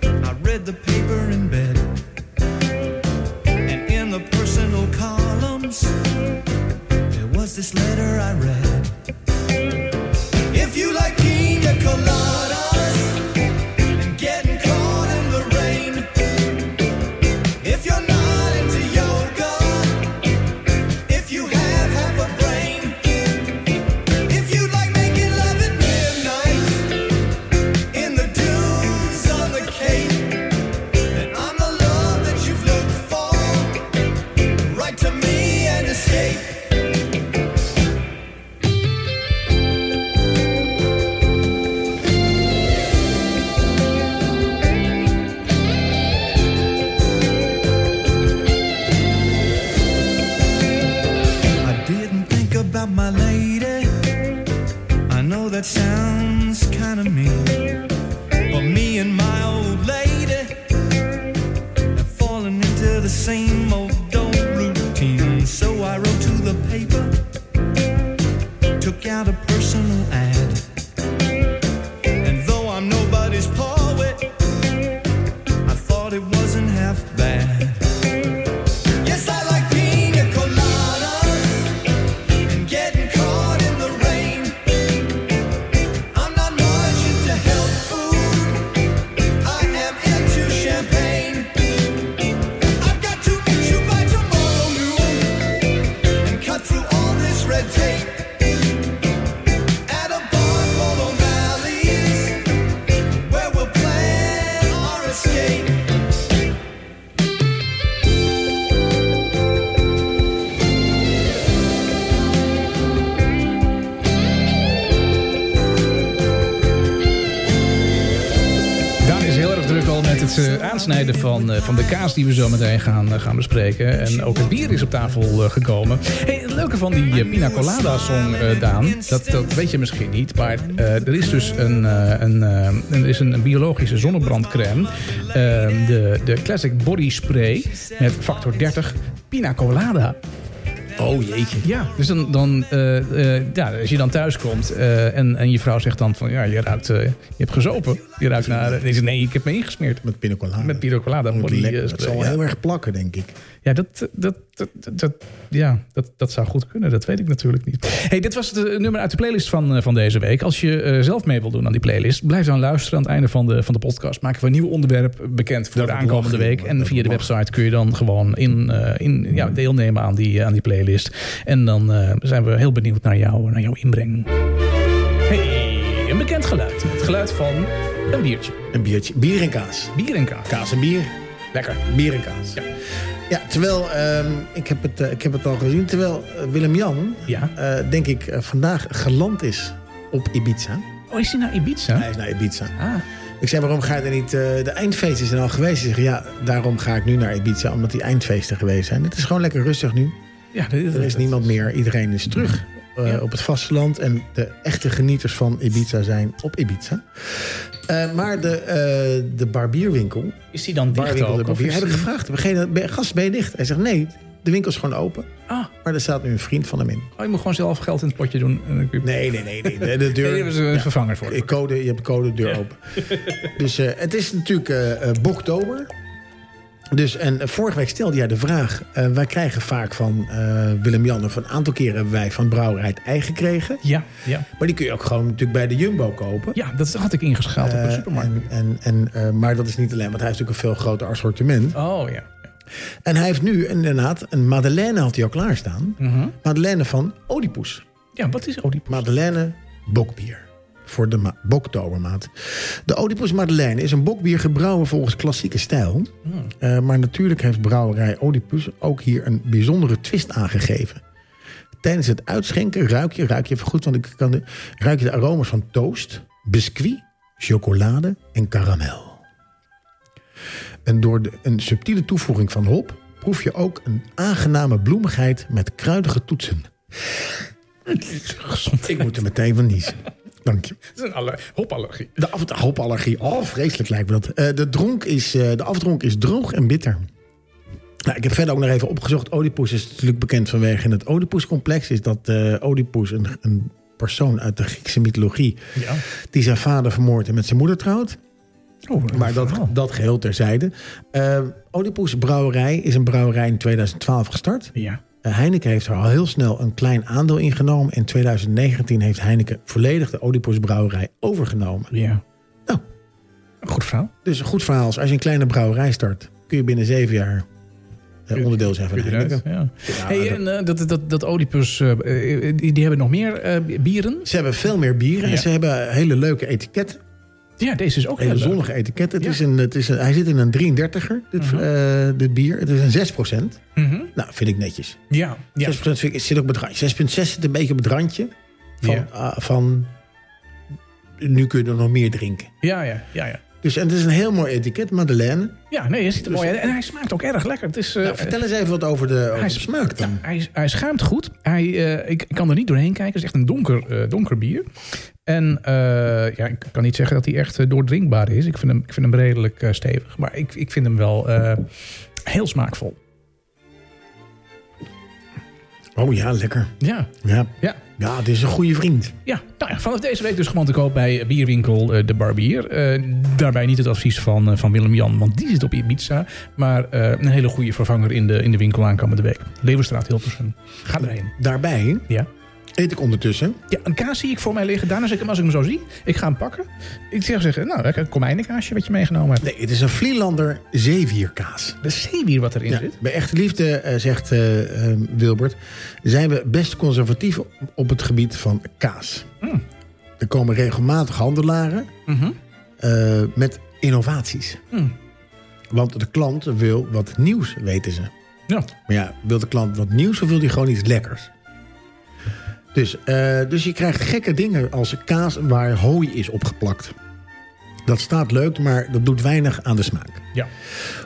S3: I read the paper in bed. And in the personal columns, there was this letter I read. If you like pina coladas and getting caught in the rain, if you're not into yoga, if you have half a brain, if you like making love at midnight in the dunes on the cape, then I'm the love that you've looked for. Write to me and escape.
S1: het eh, aansnijden van, eh, van de kaas die we zo meteen gaan, eh, gaan bespreken. En ook het bier is op tafel eh, gekomen. Hey, het leuke van die eh, Pina Colada song, eh, Daan, dat, dat weet je misschien niet. Maar eh, er is dus een, eh, een, eh, er is een, een biologische zonnebrandcrème. eh, de, de Classic Body Spray met factor 30 Pina Colada.
S2: Oh jeetje.
S1: Ja, dus dan, dan eh, eh, ja, als je dan thuis komt eh, en, en je vrouw zegt dan van ja, je ruikt, eh, je hebt gezopen. Je ruikt naar. eh, nee, ze, nee, ik heb me ingesmeerd.
S2: Met pina colada.
S1: Met pina colada.
S2: Moet
S1: body,
S2: lekker.
S1: eh,
S2: Dat
S1: spray,
S2: zal
S1: ja.
S2: heel erg plakken, denk ik.
S1: Ja, dat, dat, dat, dat- dat, ja dat, dat zou goed kunnen. Dat weet ik natuurlijk niet. Hey, dit was het eh, nummer uit de playlist van, eh, van deze week. Als je eh, zelf mee wil doen aan die playlist, blijf dan luisteren. Aan het einde van de, van de podcast maken we een nieuw onderwerp bekend voor
S2: Dat
S1: de
S2: mag,
S1: aankomende
S2: jongen,
S1: week. En
S2: dat
S1: via de
S2: mag.
S1: website kun je dan gewoon in, eh, in, ja, deelnemen aan die, eh, aan die playlist. En dan eh, zijn we heel benieuwd naar, jou, naar jouw inbreng. Hey, een bekend geluid. Het geluid van een biertje.
S2: Een biertje. Bier en kaas.
S1: Bier en kaas.
S2: Kaas en bier.
S1: Lekker.
S2: Bier en kaas.
S1: Ja.
S2: Ja, terwijl, ehm, ik, heb het, eh, ik heb het al gezien, terwijl eh, Willem-Jan,
S1: Ja.
S2: eh, denk ik, eh, vandaag geland is op Ibiza.
S1: Oh, is hij naar Ibiza?
S2: Hij is naar Ibiza.
S1: Ah,
S2: Ik zei, waarom ga je er niet... eh, de eindfeesten zijn al geweest. Hij zegt, ja, daarom ga ik nu naar Ibiza, omdat die eindfeesten geweest zijn. Het is gewoon lekker rustig nu.
S1: ja, dit-
S2: Er is niemand meer. Iedereen is terug eh,
S1: Ja.
S2: op het vasteland. En de echte genieters van Ibiza zijn op Ibiza. Eh, maar de, eh, de barbierwinkel...
S1: Is die dan dicht
S2: Barwinkel de
S1: ook? Of
S2: barbier.
S1: is
S2: Heb ik
S1: die-
S2: gevraagd. Heb ik geen- ben- Gast, ben je dicht? Hij zegt, nee, de winkel is gewoon open.
S1: Ah,
S2: Maar er staat nu een vriend van hem in.
S1: oh, je moet gewoon zelf geld in het potje doen. En dan kun je-
S2: Nee, nee, nee. nee. De, de
S1: Nee, daar
S2: deur...
S1: hebben ze een vervanger voor.
S2: eh, Code, je hebt code, deur open. Dus eh, het is natuurlijk eh eh, boktober. Dus, en eh, vorige week stelde jij de vraag... eh, wij krijgen vaak van eh, Willem-Jan... of een aantal keren hebben wij van Brouwerij het ei gekregen.
S1: Ja, ja.
S2: Maar die kun je ook gewoon natuurlijk bij de Jumbo kopen.
S1: ja, dat had ik ingeschaald op
S2: Eh,
S1: een supermarkt.
S2: en, en, en, eh, maar dat is niet alleen, want hij heeft natuurlijk een veel groter assortiment.
S1: Oh ja.
S2: En hij heeft nu inderdaad een Madeleine had hij al klaarstaan.
S1: Mhm.
S2: Madeleine van Oedipus.
S1: Ja, wat is oh, Oedipus?
S2: Madeleine bokbier. Voor de ma- boktobermaat. De Oedipus Madeleine is een bokbier gebrouwen volgens klassieke stijl. Eh, maar natuurlijk heeft brouwerij Oedipus ook hier een bijzondere twist aangegeven. Tijdens het uitschenken ruik je, ruik je even goed, want ik kan de, ruik je de aromas van toast, biscuit, chocolade en karamel. En door de, een subtiele toevoeging van hop proef je ook een aangename bloemigheid met kruidige toetsen. Ik moet er meteen van niezen. Dank je.
S1: Dat is een alle- hopallergie.
S2: De af- de hopallergie. Oh, vreselijk lijkt me dat. Eh, de, dronk is, eh, de afdronk is droog en bitter. Nou, ik heb verder ook nog even opgezocht. Oedipus is natuurlijk bekend vanwege het Oedipus-complex. Is dat eh Oedipus een, een persoon uit de Griekse mythologie...
S1: Ja.
S2: die zijn vader vermoordt en met zijn moeder trouwt.
S1: Oh,
S2: Maar dat, dat geheel terzijde. Eh Oedipus Brouwerij is een brouwerij in 2012 gestart.
S1: Ja.
S2: Eh, Heineken heeft er al heel snel een klein aandeel in genomen. In 2019 heeft Heineken volledig de Oedipus Brouwerij overgenomen.
S1: ja.
S2: Nou,
S1: Oh. Een Goed verhaal.
S2: dus een goed verhaal is, als je een kleine brouwerij start... kun je binnen zeven jaar eh, onderdeel zijn van
S1: Kun je eruit,
S2: Heineken.
S1: Ja.
S2: Ja,
S1: hey,
S2: dat-
S1: en eh, dat, dat, dat Oedipus, eh, eh, die, die hebben nog meer eh, bieren.
S2: Ze hebben veel meer bieren
S1: Ja. Oh,
S2: en ze hebben hele leuke etiketten.
S1: Ja, deze is ook heel
S2: Hele
S1: leuk.
S2: zonnige etiketten. Het
S1: Ja.
S2: is een, het is een, hij zit in een 33er, dit, eh, dit bier. Het is een 6
S1: Mhm.
S2: Nou, vind ik netjes.
S1: Ja, ja.
S2: 6 vind ik, zit ook op het randje. 6,6 zit een beetje op het randje van...
S1: Ja.
S2: ah, van nu kun je er nog meer drinken.
S1: ja, ja, ja, ja.
S2: Dus en het is een heel mooi etiket, Madeleine.
S1: Ja, nee, hij ziet er mooi uit. En hij smaakt ook erg lekker. Het is, eh,
S2: Nou, vertel eens even wat over de, over
S1: hij
S2: de
S1: is-
S2: smaak dan.
S1: Hij, hij schuimt goed. Hij, eh, ik, ik kan er niet doorheen kijken. Het is echt een donker, eh, donker bier. En eh, ja, ik kan niet zeggen dat hij echt eh, doordrinkbaar is. Ik vind hem, ik vind hem redelijk eh, stevig. Maar ik, ik vind hem wel eh, heel smaakvol.
S2: Oh ja, lekker.
S1: Ja,
S2: Ja.
S1: ja.
S2: ja, dit is een goede vriend.
S1: Ja, nou ja, vanaf deze week dus gewoon te koop bij bierwinkel eh, De Barbier. Eh, daarbij niet het advies van, eh, van Willem-Jan, want die zit op Ibiza. Maar eh, een hele goede vervanger in de, in de winkel aankomende week. Leeuwenstraat Hilversum. Ga erheen.
S2: Daarbij
S1: Ja.
S2: eet ik ondertussen.
S1: Ja, een kaas zie ik voor mij liggen. Daarna zeg ik hem, als ik hem zo zie, ik ga hem pakken. Ik zeg, zeg nou, lekker komijnenkaasje wat je meegenomen hebt.
S2: Nee, het is een Vlielander zeevierkaas.
S1: De zeewier wat erin
S2: Ja,
S1: zit.
S2: bij echte liefde, eh, zegt eh, eh, Wilbert, zijn we best conservatief op- op het gebied van kaas.
S1: Mm.
S2: Er komen regelmatig handelaren
S1: Mhm.
S2: eh, met innovaties.
S1: Mm.
S2: Want de klant wil wat nieuws, weten ze.
S1: Ja.
S2: Maar ja, wil de klant wat nieuws of wil hij gewoon iets lekkers? Dus, eh, dus je krijgt gekke dingen als kaas waar hooi is opgeplakt. Dat staat leuk, maar dat doet weinig aan de smaak.
S1: Ja.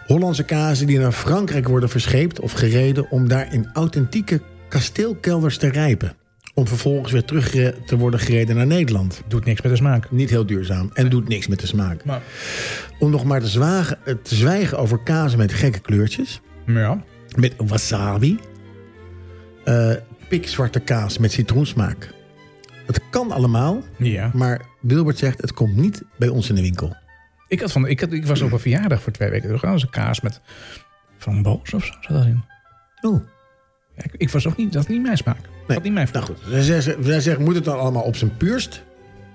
S2: Hollandse kazen die naar Frankrijk worden verscheept of gereden om daar in authentieke kasteelkelders te rijpen. Om vervolgens weer terug gere- te worden gereden naar Nederland.
S1: Doet niks met de smaak.
S2: Niet heel duurzaam en doet niks met de smaak.
S1: Maar,
S2: Om nog maar te, zwagen, eh, te zwijgen over kazen met gekke kleurtjes.
S1: ja.
S2: Met wasabi. Eh, pikzwarte kaas met citroensmaak. Het kan allemaal,
S1: Ja.
S2: maar Wilbert zegt het komt niet bij ons in de winkel.
S1: Ik, had van, ik, had, ik was op een verjaardag voor twee weken terug. Dat was een kaas met framboos of zo zat erin.
S2: Oh,
S1: Ja, ik, ik was ook niet, dat is niet mijn smaak. Dat is niet mijn
S2: nou goed. Zij zegt, zij zegt, moet het dan allemaal op zijn puurst?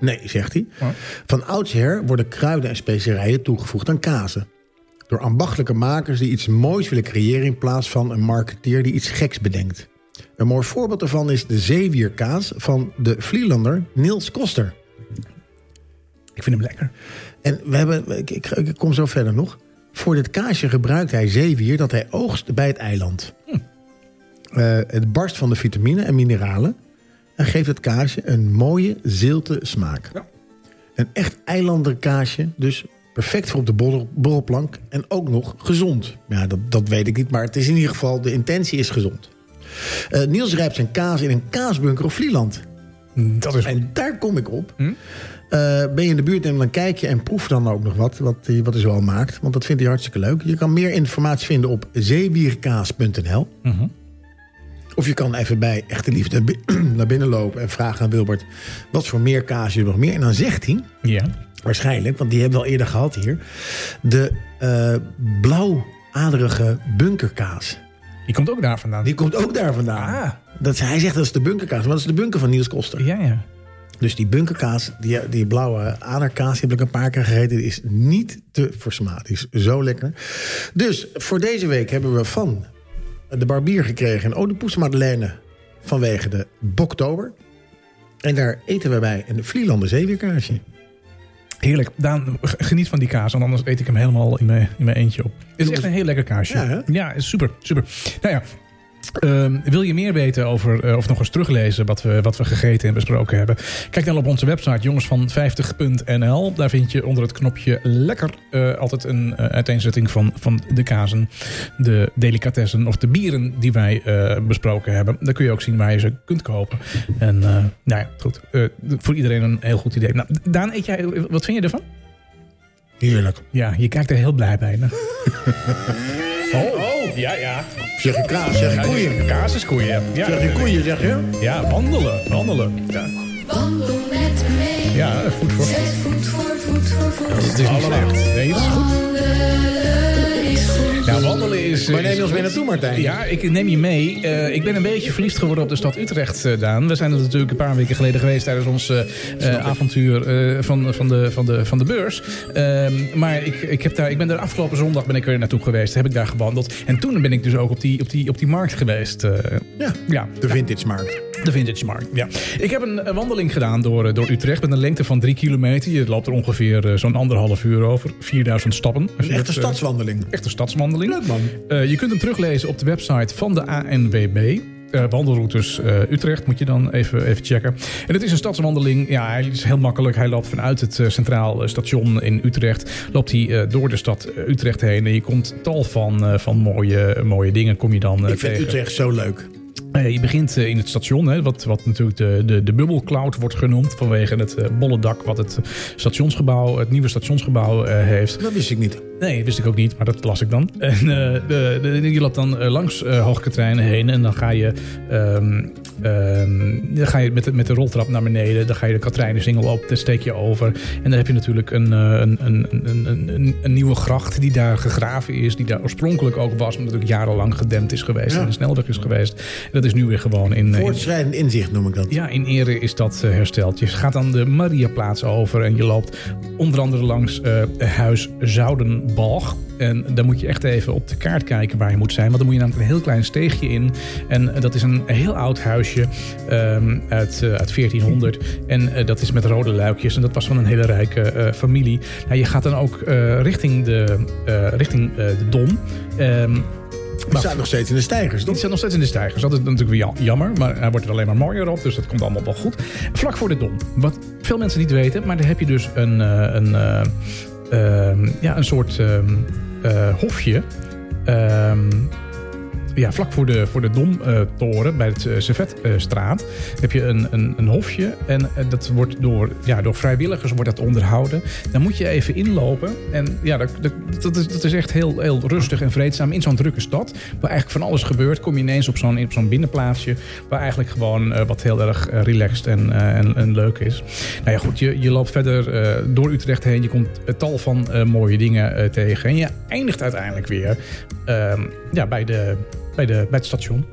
S2: Nee, zegt hij.
S1: Ja.
S2: Van oudsher worden kruiden en specerijen toegevoegd aan kazen. Door ambachtelijke makers die iets moois willen creëren... in plaats van een marketeer die iets geks bedenkt. Een mooi voorbeeld daarvan is de zeewierkaas van de Vlielander Niels Koster.
S1: Nou, Ik vind hem lekker.
S2: En we hebben, ik, ik, ik kom zo verder nog. Voor dit kaasje gebruikt hij zeewier dat hij oogst bij het eiland.
S1: Hm.
S2: Eh, het barst van de vitamine en mineralen en geeft het kaasje een mooie zilte smaak.
S1: Ja.
S2: Een echt eilanderkaasje, dus perfect voor op de borrel- borrelplank en ook nog gezond. Ja, dat, dat weet ik niet, maar het is in ieder geval, de intentie is gezond. Eh, Niels rijpt zijn kaas in een kaasbunker op Vlieland.
S1: Dat is Hm?
S2: En daar kom ik op. Eh, ben je in de buurt en dan kijk je en proef dan ook nog wat, wat, hij- wat hij zoal maakt. Want dat vindt hij hartstikke leuk. Je kan meer informatie vinden op zeewierkaas.nl. Of je kan even bij Echte Liefde bi- naar binnen lopen en vragen aan Wilbert... wat voor meer kaas je nog meer... En dan zegt hij,
S1: Ja.
S2: waarschijnlijk, want die hebben we al eerder gehad hier... de eh, blauwaderige bunkerkaas.
S1: Die komt ook daar vandaan.
S2: Die komt ook daar vandaan.
S1: Ah.
S2: Dat, is- hij zegt dat is de bunkerkaas, maar dat is de bunker van Niels Koster.
S1: Ja, ja.
S2: Dus die bunkerkaas, die, die blauwe aderkaas, die heb ik een paar keer gegeten. Die is niet te versmaad. Die is zo lekker. Dus voor deze week hebben we van de barbier gekregen... een de Poes Madeleine vanwege de Boktober. En daar eten we bij een Vlielander zeewierkaasje.
S1: Heerlijk. Daan, g- geniet van die kaas, want anders eet ik hem helemaal in mijn, in mijn eentje op. Het is echt een heel lekker kaasje.
S2: Ja, hè?
S1: is super, super. Nou ja. ehm, wil je meer weten over, eh, of nog eens teruglezen wat we, wat we gegeten en besproken hebben? Kijk dan op onze website jongensvan50.nl. Daar vind je onder het knopje lekker eh, altijd een eh, uiteenzetting van, van de kazen, de delicatessen of de bieren die wij eh, besproken hebben. Daar kun je ook zien waar je ze kunt kopen. En eh, nou ja, goed. Eh, voor iedereen een heel goed idee. Nou, Daan, eet jij, wat vind je ervan?
S2: Heerlijk.
S1: Ja, je kijkt er heel blij bij. Hè? Oh, ja, ja.
S2: Zeg je kaas, zeg je koeien.
S1: Kaas is koeien. Ja,
S2: Zeg je koeien, zeg je?
S1: ja wandelen. Wandelen. Ja,
S4: Wandel met me mee.
S1: ja voet voor.
S4: Zet voet voor voet voor voet.
S1: Het is niet slecht. Nee, het is goed.
S4: Wandelen is goed.
S1: Ja, wandelen is...
S2: Maar neem
S1: is
S2: je ons
S1: goed.
S2: mee naartoe, Martijn.
S1: Ja, ik neem je mee. Eh, ik ben een beetje verliefd geworden op de stad Utrecht, eh, Daan. We zijn er natuurlijk een paar weken geleden geweest tijdens ons eh, eh, avontuur eh, van, van, de, van, de, van de beurs. Ehm, maar ik, ik, heb daar, ik ben daar afgelopen zondag ben ik er naartoe geweest. Heb ik daar gewandeld. En toen ben ik dus ook op die, op die, op die markt geweest. eh.
S2: Ja,
S1: ja,
S2: de vintage markt.
S1: de Vintage Markt, ja. Ik heb een eh, wandeling gedaan door, eh, door Utrecht met een lengte van drie kilometer. Je loopt er ongeveer eh, zo'n anderhalf uur over. 4000 stappen. Als
S2: Een
S1: je
S2: echte
S1: dat, eh,
S2: stadswandeling.
S1: echte stadswandeling.
S2: Leuk, man.
S1: Eh, je kunt hem teruglezen op de website van de ANWB. Eh, wandelroutes eh, Utrecht moet je dan even, even checken. En het is een stadswandeling. Ja, hij is heel makkelijk. Hij loopt vanuit het eh, Centraal eh, Station in Utrecht. Loopt hij eh, door de stad eh, Utrecht heen. En je komt tal van, eh, van mooie, mooie dingen kom je dan eh,
S2: Ik vind
S1: tegen.
S2: Utrecht zo leuk.
S1: Eh, je begint eh, in het station, hè, wat, wat natuurlijk de, de, de bubbelcloud wordt genoemd. Vanwege het eh, bolle dak wat het stationsgebouw, het nieuwe stationsgebouw eh, heeft.
S2: Dat wist ik niet.
S1: Nee, wist ik ook niet, maar dat las ik dan. En, eh, de, de- je loopt dan eh, langs eh Hoogkaterijnen heen en dan ga je, ehm, ehm, dan ga je met, de, met de roltrap naar beneden. Dan ga je de Katrijnensingel op, dan steek je over. En dan heb je natuurlijk een, eh, een, een, een, een- een, een nieuwe gracht die daar gegraven is. Die daar oorspronkelijk ook was, omdat het ook jarenlang gedempt is geweest.
S2: Ja.
S1: En een snelweg is geweest. En dat is nu weer gewoon in... in
S2: Voortschrijdend inzicht noem ik dat.
S1: ja, in ere is dat eh, hersteld. Je gaat dan de Mariaplaats over en je loopt onder andere langs eh, huis Zoudenbalg. En dan moet je echt even op de kaart kijken waar je moet zijn. Want dan moet je namelijk een heel klein steegje in. En eh, dat is een heel oud huisje ehm, uit, eh, uit 1400. En eh, dat is met rode luikjes. En dat was van een hele rijke eh, familie. Nou, je gaat dan ook eh, richting de, eh, richting, eh, de Dom. Ehm,
S2: We staan nog steeds in de stijgers,
S1: die
S2: toch?
S1: staat nog steeds in de stijgers. Dat is natuurlijk weer ja- jammer, maar hij wordt er alleen maar mooier op. Dus dat komt allemaal wel goed. Vlak voor de Dom. Wat veel mensen niet weten, maar daar heb je dus een, eh, een, eh, ehm, ja, een soort ehm, eh, hofje. Ehm, ja, vlak voor de, voor de Domtoren, bij het eh, Servetstraat, eh, heb je een, een, een hofje. En eh, dat wordt door, ja, door vrijwilligers wordt dat onderhouden. Dan moet je even inlopen. En ja, dat, dat, dat is, dat is echt heel, heel rustig en vreedzaam in zo'n drukke stad. Waar eigenlijk van alles gebeurt. Kom je ineens op zo'n op zo'n binnenplaatsje. Waar eigenlijk gewoon eh, wat heel erg eh, relaxed en, eh, en, en leuk is. Nou ja, goed, je, je loopt verder eh, door Utrecht heen. Je komt eh, tal van eh, mooie dingen eh, tegen. En je eindigt uiteindelijk weer ehm, ja, bij, de, bij, de, bij het station.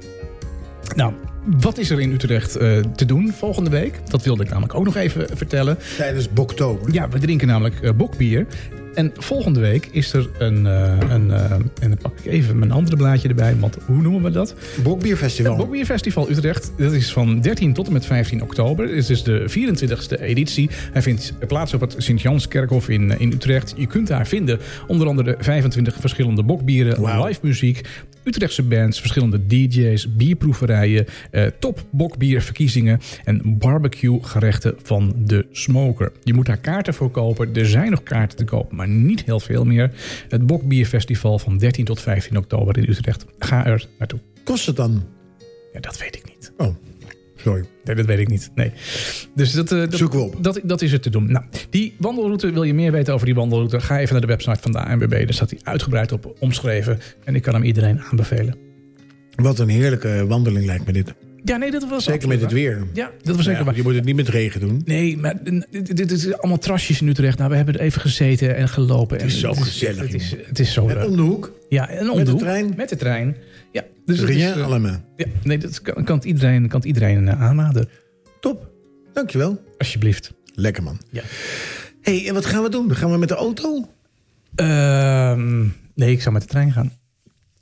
S1: Nou, wat is er in Utrecht eh, te doen volgende week? Dat wilde ik namelijk ook nog even vertellen.
S2: Tijdens Boktober.
S1: Ja, we drinken namelijk eh, bokbier. En volgende week is er een, eh, een eh, en dan pak ik even mijn andere blaadje erbij, want hoe noemen we dat?
S2: Bokbierfestival.
S1: Het Bokbierfestival Utrecht, dat is van 13 tot en met 15 oktober. Het is dus de 24e editie. Hij vindt plaats op het Sint-Janskerkhof in, in Utrecht. Je kunt daar vinden onder andere 25 verschillende bokbieren,
S2: Wauw.
S1: live muziek... Utrechtse bands, verschillende DJ's, bierproeverijen, eh, top bokbierverkiezingen en barbecue gerechten van de smoker. Je moet daar kaarten voor kopen. Er zijn nog kaarten te koop, maar niet heel veel meer. Het Bokbierfestival van 13 tot 15 oktober in Utrecht. Ga er naartoe.
S2: Kost het dan?
S1: Ja, dat weet ik niet.
S2: Oh, sorry.
S1: Nee, dat weet ik niet. Nee. Dus dat, eh, dat,
S2: Zoeken we op.
S1: Dat, dat is het te doen. Nou, die wandelroute, wil je meer weten over die wandelroute? Ga even naar de website van de ANWB. Daar staat hij uitgebreid op omschreven. En ik kan hem iedereen aanbevelen.
S2: Wat een heerlijke wandeling lijkt me dit.
S1: Ja, nee, dat was
S2: Zeker met het weer.
S1: Ja, dat was zeker
S2: Ja,
S1: waar.
S2: je moet het niet met regen doen.
S1: Nee, maar n- dit, dit is allemaal trasjes in Utrecht. Nou, we hebben er even gezeten en gelopen. en
S2: is zo
S1: het
S2: gezellig,
S1: Het is, het is zo
S2: En
S1: leuk.
S2: om de hoek.
S1: Ja, en om
S2: met de
S1: hoek.
S2: trein.
S1: Met de trein. Ja, dus het is,
S2: Rien
S1: eh,
S2: allemaal.
S1: ja, nee, dat kan, kan het iedereen, kan het iedereen eh, aanraden.
S2: Top. Dankjewel.
S1: Alsjeblieft.
S2: Lekker man.
S1: Ja.
S2: Hé, hey, en wat gaan we doen? Gaan we met de auto?
S1: Ehm, nee, ik zou met de trein gaan.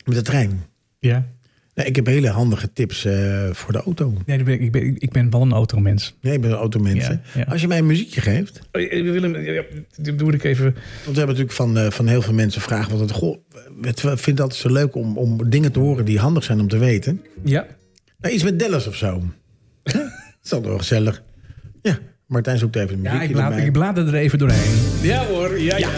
S2: Met de trein?
S1: Ja.
S2: Nou, ik heb hele handige tips eh, voor de auto.
S1: Nee, ik ben, ik ben, ik ben wel een automens.
S2: Nee, ik ben een automens.
S1: Ja,
S2: hè?
S1: ja.
S2: Als je mij een muziekje geeft.
S1: Oh, Willem, ja, dit doe ik even.
S2: Want we hebben natuurlijk van, eh, van heel veel mensen vragen. Want het, goh, het vindt het altijd zo leuk om, om dingen te horen die handig zijn om te weten.
S1: Ja.
S2: Nou, iets met Dallas of zo. dat is altijd wel gezellig. Ja, Martijn zoekt even een
S1: ja
S2: muziekje
S1: ik, blaad,
S2: erbij.
S1: ik blader er even doorheen. Ja hoor, ja, ja.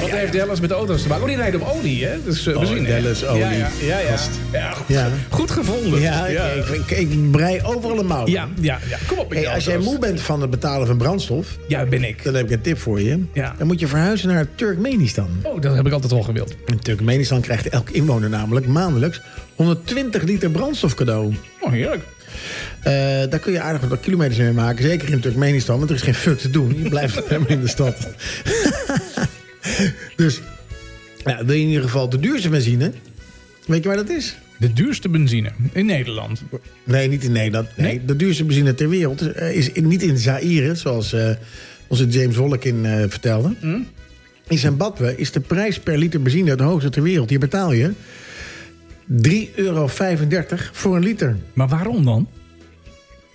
S1: Wat heeft Dallas met de auto's te maken? Oh, die rijdt op olie, hè? Dus eh, we zien hè?
S2: Oh, Dallas, olie,
S1: Ja, ja, ja. ja. Ja, goed,
S2: Ja.
S1: goed gevonden.
S2: ja, ik-
S1: ja.
S2: Ik, ik, ik brei overal een mouw.
S1: ja, ja, ja. Kom op, met
S2: Hey,
S1: die
S2: als jij
S1: auto's.
S2: moe bent van het betalen van brandstof,
S1: Ja, ben ik.
S2: dan heb ik een tip voor je.
S1: Ja.
S2: Dan moet je verhuizen naar Turkmenistan.
S1: Oh, dat heb ik altijd al gewild.
S2: In Turkmenistan krijgt elke inwoner namelijk maandelijks 120 liter brandstof cadeau.
S1: Oh, heerlijk.
S2: Eh, daar kun je aardig wat kilometers mee maken. Zeker in Turkmenistan, want er is geen fuck te doen. Je blijft helemaal in de stad. dus ja, wil je in ieder geval de duurste benzine? Weet je waar dat is?
S1: De duurste benzine in Nederland.
S2: Nee, niet in Nederland. Nee,
S1: Nee?
S2: De duurste benzine ter wereld eh, is in- niet in Zaire, zoals eh, onze James Hollekin eh vertelde. In Zimbabwe is de prijs per liter benzine het hoogste ter wereld. Hier betaal je 3,35 euro voor een liter.
S1: Maar waarom dan?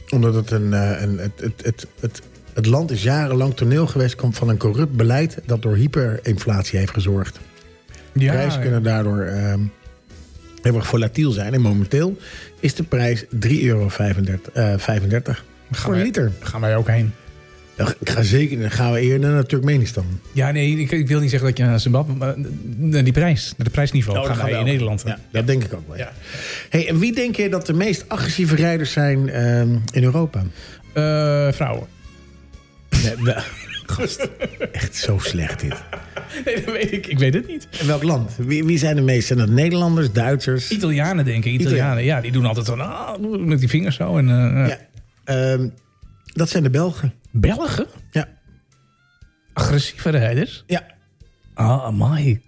S2: Omdat het een, eh, een, het, het, het, het, het land is jarenlang toneel geweest komt van een corrupt beleid dat door hyperinflatie heeft gezorgd.
S1: Ja,
S2: Prijzen kunnen daardoor ehm, heel erg volatiel zijn. En momenteel is de prijs 3,35 euro eh, voor een
S1: wij-
S2: liter.
S1: gaan wij ook heen.
S2: Ja, Ik ga zeker, dan gaan we eerder naar Turkmenistan.
S1: Ja, nee, ik, ik wil niet zeggen dat je naar Zimbabwe... maar naar die prijs, naar het prijsniveau. Nou, gaan wij in Nederland.
S2: Ja, dat denk ik ook wel.
S1: Ja.
S2: Hey, en wie denk je dat de meest agressieve rijders zijn ehm, in Europa?
S1: Eh, vrouwen.
S2: Nee, we- Gast, echt zo slecht dit.
S1: Nee, dat weet ik. Ik weet het niet.
S2: In welk land? Wie, wie zijn de meest? Zijn dat Nederlanders, Duitsers?
S1: Italianen, denk ik. Italianen, ja, die doen altijd zo... ah, met die vingers zo. En, eh, eh.
S2: Ja. Ehm, dat zijn de Belgen.
S1: Belgen?
S2: Ja.
S1: Agressieve rijders?
S2: ja.
S1: Ah, amai.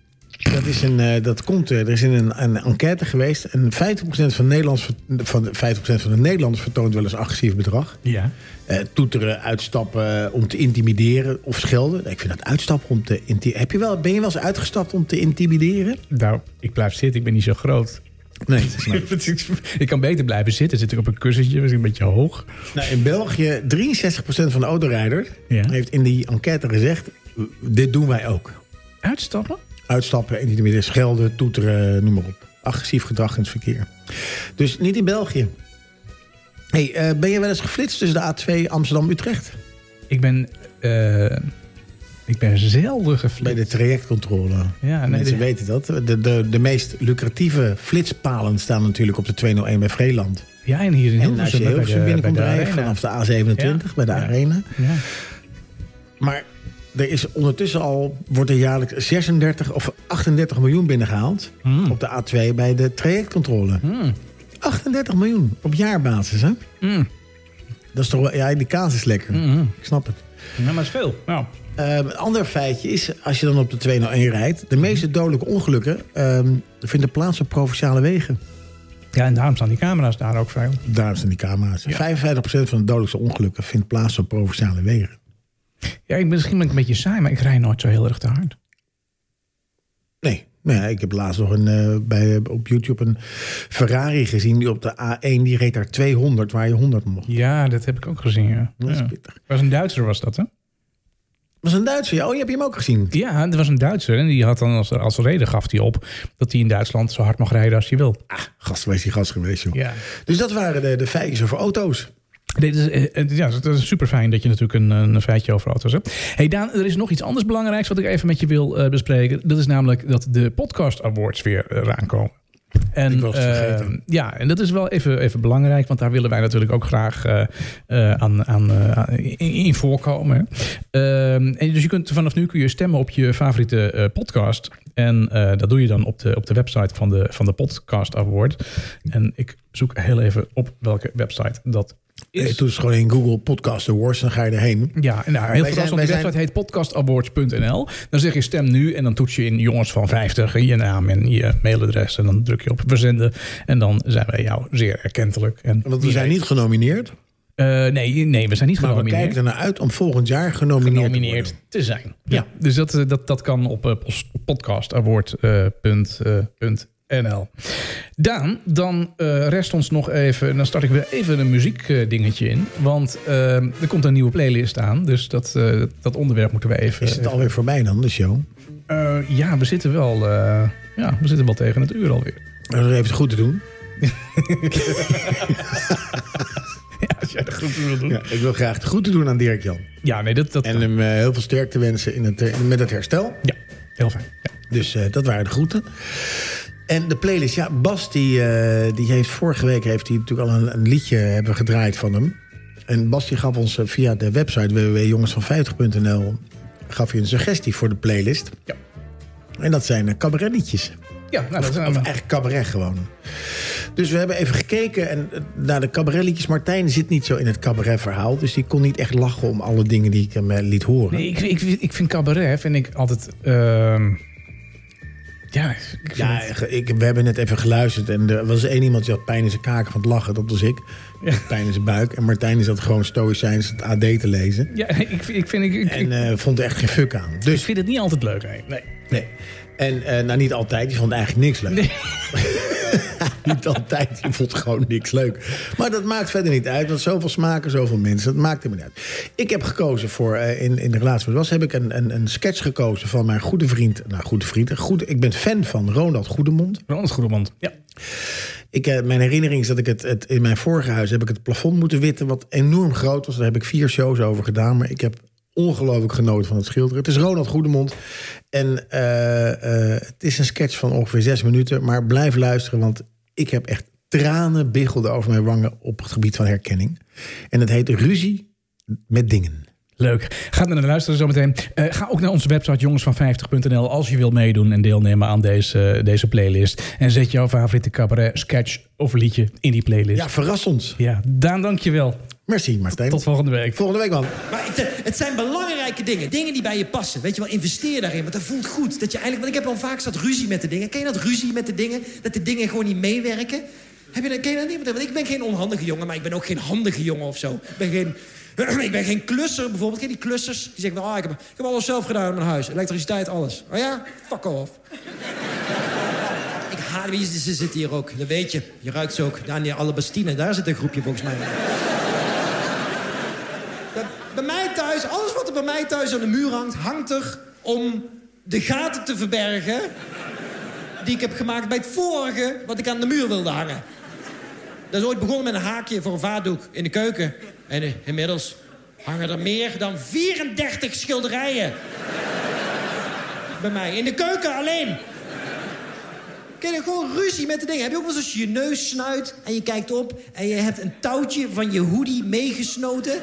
S2: Dat, is een, eh, dat komt, eh, er is in een, een enquête geweest. En 50% van, Nederlands, ver- van, de- 50% van de Nederlanders vertoont wel eens agressief bedrag.
S1: Ja.
S2: Eh, toeteren, uitstappen eh, om te intimideren of schelden. Ik vind dat uitstappen om te inti- Heb je wel, Ben je wel eens uitgestapt om te intimideren?
S1: Nou, ik blijf zitten. Ik ben niet zo groot.
S2: Nee, dat snap ik.
S1: ik kan beter blijven zitten. Zit ik op een kussentje, misschien een beetje hoog.
S2: Nou, in België, 63% van de autorijders
S1: Ja.
S2: heeft in die enquête gezegd... dit doen wij ook.
S1: Uitstappen?
S2: Uitstappen, intimideren, schelden, toeteren, noem maar op. Agressief gedrag in het verkeer. Dus niet in België. Hey, eh, ben je wel eens geflitst tussen de A2 Amsterdam-Utrecht?
S1: Ik ben, eh, ik ben zelden
S2: Bij de
S1: geflipt.
S2: trajectcontrole.
S1: Ja, nee,
S2: Mensen
S1: de-
S2: weten dat. De, de, de meest lucratieve flitspalen staan natuurlijk op de 201 bij Vreeland.
S1: Ja, en hier in
S2: En als je
S1: Hilversum. bij
S2: Hilversum
S1: de-
S2: binnenkomt
S1: bij de
S2: rijden
S1: arena.
S2: vanaf de A27 bij de
S1: Ja.
S2: Arena.
S1: Ja.
S2: Maar er is ondertussen al, wordt er jaarlijks 36 of 38 miljoen binnengehaald.
S1: Mm.
S2: Op de A2 bij de trajectcontrole.
S1: Mm.
S2: 38 miljoen op jaarbasis, hè?
S1: Mm.
S2: Dat is toch wel, ja, die kaas is lekker.
S1: Mm.
S2: Ik snap het.
S1: Ja, maar het is veel. Nou,
S2: Ehm, een ander feitje is, als je dan op de 201 rijdt... de meeste dodelijke ongelukken ehm, vinden plaats op provinciale wegen.
S1: ja, en daarom staan die camera's daar ook vrij.
S2: Daar zijn die camera's. 55% van de dodelijkste ongelukken vindt plaats op provinciale wegen.
S1: Ja, ik, misschien ben ik een beetje saai, maar ik rij nooit zo heel erg te hard.
S2: Nee. Nou ja, ik heb laatst nog een, eh, bij, op YouTube een Ferrari gezien... die op de A1, die reed daar 200, waar je 100 mocht.
S1: Ja, dat heb ik ook gezien. Ja.
S2: Dat is
S1: Ja.
S2: pittig.
S1: was een Duitser, was dat, hè?
S2: Dat was een Duitser. ja. Oh, je hebt hem ook gezien.
S1: Ja, er was een Duitser en die had dan als, als reden gaf hij op dat hij in Duitsland zo hard mag rijden als hij wil.
S2: Gast, wees die gast geweest, joh.
S1: Ja.
S2: Dus dat waren de, de feitjes over auto's.
S1: Dit is, eh, eh, ja, dat is super fijn dat je natuurlijk een, een feitje over auto's hebt. hey Daan, er is nog iets anders belangrijks wat ik even met je wil eh, bespreken. Dat is namelijk dat de Podcast Awards weer eh, eraan komen. En,
S2: Ik was het
S1: eh,
S2: vergeten.
S1: ja, en dat is wel even, even belangrijk, want daar willen wij natuurlijk ook graag eh, eh, aan, aan, eh, aan- in, in voorkomen. hè. Ehm, en dus je kunt vanaf nu kun je stemmen op je favoriete eh, podcast. En eh, dat doe je dan op de, op de website van de, van de Podcast Award. En ik zoek heel even op welke website dat is.
S2: Eh, Toen is gewoon in Google Podcast Awards, dan ga je erheen.
S1: Ja, en nou, heel
S2: zijn-
S1: verrassend.
S2: wij
S1: Die
S2: zijn-
S1: website heet podcastawards.nl. Dan zeg je stem nu en dan toets je in jongens van 50 je naam en je mailadres. En dan druk je op verzenden. En dan zijn wij jou zeer erkentelijk. En
S2: Want we zijn niet genomineerd.
S1: Eh, nee, nee, we zijn niet
S2: Maar we
S1: genomineerd.
S2: kijken ernaar uit om volgend jaar genomineerd, te
S1: genomineerd
S2: worden.
S1: te zijn. Ja. Dus dat, eh, dat, dat kan op eh, pos- eh, podcastawards.nl. Daan, dan eh, rest ons nog even... Dan start ik weer even een muziekdingetje in. Want eh, er komt een nieuwe playlist aan. Dus dat, eh, dat onderwerp moeten we even...
S2: Is het alweer voorbij dan, de show?
S1: Eh, ja, we zitten wel. eh, ja, we zitten wel tegen het uur alweer.
S2: Dat is even goed te doen.
S1: Ja, als jij de groep wil doen. Ja,
S2: Ja, ik wil graag het goed te doen aan Dirk-Jan.
S1: nee, dat. dat
S2: En hem eh, heel veel sterkte wensen in het, eh, met het herstel.
S1: ja, heel fijn. Ja.
S2: Dus eh, dat waren de groeten. En de playlist, ja, Bas die, eh, die heeft vorige week heeft hij natuurlijk al een, een liedje hebben gedraaid van hem. En Bas die gaf ons eh, via de website www.jongensvan50.nl gaf hij een suggestie voor de playlist.
S1: Ja.
S2: En dat zijn eh, cabaretliedjes.
S1: Ja, nou, dat
S2: Of,
S1: zijn we.
S2: echt cabaret gewoon. Dus we hebben even gekeken en eh, naar de cabaretliedjes. Martijn zit niet zo in het cabaretverhaal. Dus die kon niet echt lachen om alle dingen die ik hem eh, liet horen.
S1: Nee, ik, ik, ik vind cabaret vind ik altijd. ehm, ja, ik vind
S2: Ja,
S1: het-
S2: ik, we hebben net even geluisterd en er was één iemand die had pijn in zijn kaken van het lachen. Dat was ik.
S1: Ja.
S2: Pijn in zijn buik. En Martijn is dat gewoon stoïcijns het AD te lezen.
S1: ja ik, vind- ik, vind, ik, ik,
S2: En eh, vond er echt geen fuck aan.
S1: ik
S2: Dus,
S1: vind het niet altijd leuk. Hè. Nee.
S2: nee. En eh, nou, niet altijd. Die vond eigenlijk niks leuk. niet altijd. Die vond gewoon niks leuk. Maar dat maakt verder niet uit. Want zoveel smaken, zoveel mensen. Dat maakt helemaal niet uit. Ik heb gekozen voor, eh, in, in de relatie met was, heb ik een, een, een sketch gekozen van mijn goede vriend. Nou, goede vriend. Goed, ik ben fan van Ronald Goedemond.
S1: Ronald Goedemond. Ja.
S2: Ik, eh, mijn herinnering is dat ik het, het in mijn vorige huis heb ik het plafond moeten witten, wat enorm groot was. Daar heb ik vier shows over gedaan, maar ik heb ongelooflijk genoten van het schilderen. Het is Ronald Goedemond en eh, eh, het is een sketch van ongeveer zes minuten, maar blijf luisteren, want ik heb echt tranen biggelden over mijn wangen op het gebied van herkenning. En het heet Ruzie met dingen.
S1: Leuk. Ga naar de luisteren zometeen. Eh, ga ook naar onze website jongensvan50.nl als je wilt meedoen en deelnemen aan deze, deze playlist. En zet jouw favoriete cabaret, sketch of liedje in die playlist.
S2: Ja, verras ons.
S1: Ja, Daan, dankjewel.
S2: Merci, Martijn.
S1: Tot volgende week.
S2: volgende week, man.
S5: Maar het, eh, het zijn belangrijke dingen. Dingen die bij je passen. Weet je wel, investeer daarin. Want dat voelt goed. Dat je eigenlijk, want ik heb al vaak zat ruzie met de dingen. Ken je dat ruzie met de dingen? Dat de dingen gewoon niet meewerken? Heb je dat, ken je dat niet? Want ik ben geen onhandige jongen, maar ik ben ook geen handige jongen of zo. Ik ben geen, ik ben geen klusser bijvoorbeeld. Ken je die klussers? Die zeggen, ah, ik, heb, ik heb alles zelf gedaan in mijn huis. Elektriciteit, alles. Oh ja? Fuck off. ik haat wie ze ze zitten hier ook. Dat weet je. Je ruikt ze ook. Daniel Alabastine, daar zit een groepje volgens mij. Bij, bij mij thuis, alles wat er bij mij thuis aan de muur hangt, hangt er om de gaten te verbergen. die ik heb gemaakt bij het vorige wat ik aan de muur wilde hangen. Dat is ooit begonnen met een haakje voor een vaatdoek in de keuken. En eh, inmiddels hangen er meer dan 34 schilderijen. Bij mij, in de keuken alleen. Ken je gewoon ruzie met de dingen? Heb je ook wel eens als je je neus snuit en je kijkt op en je hebt een touwtje van je hoodie meegesnoten?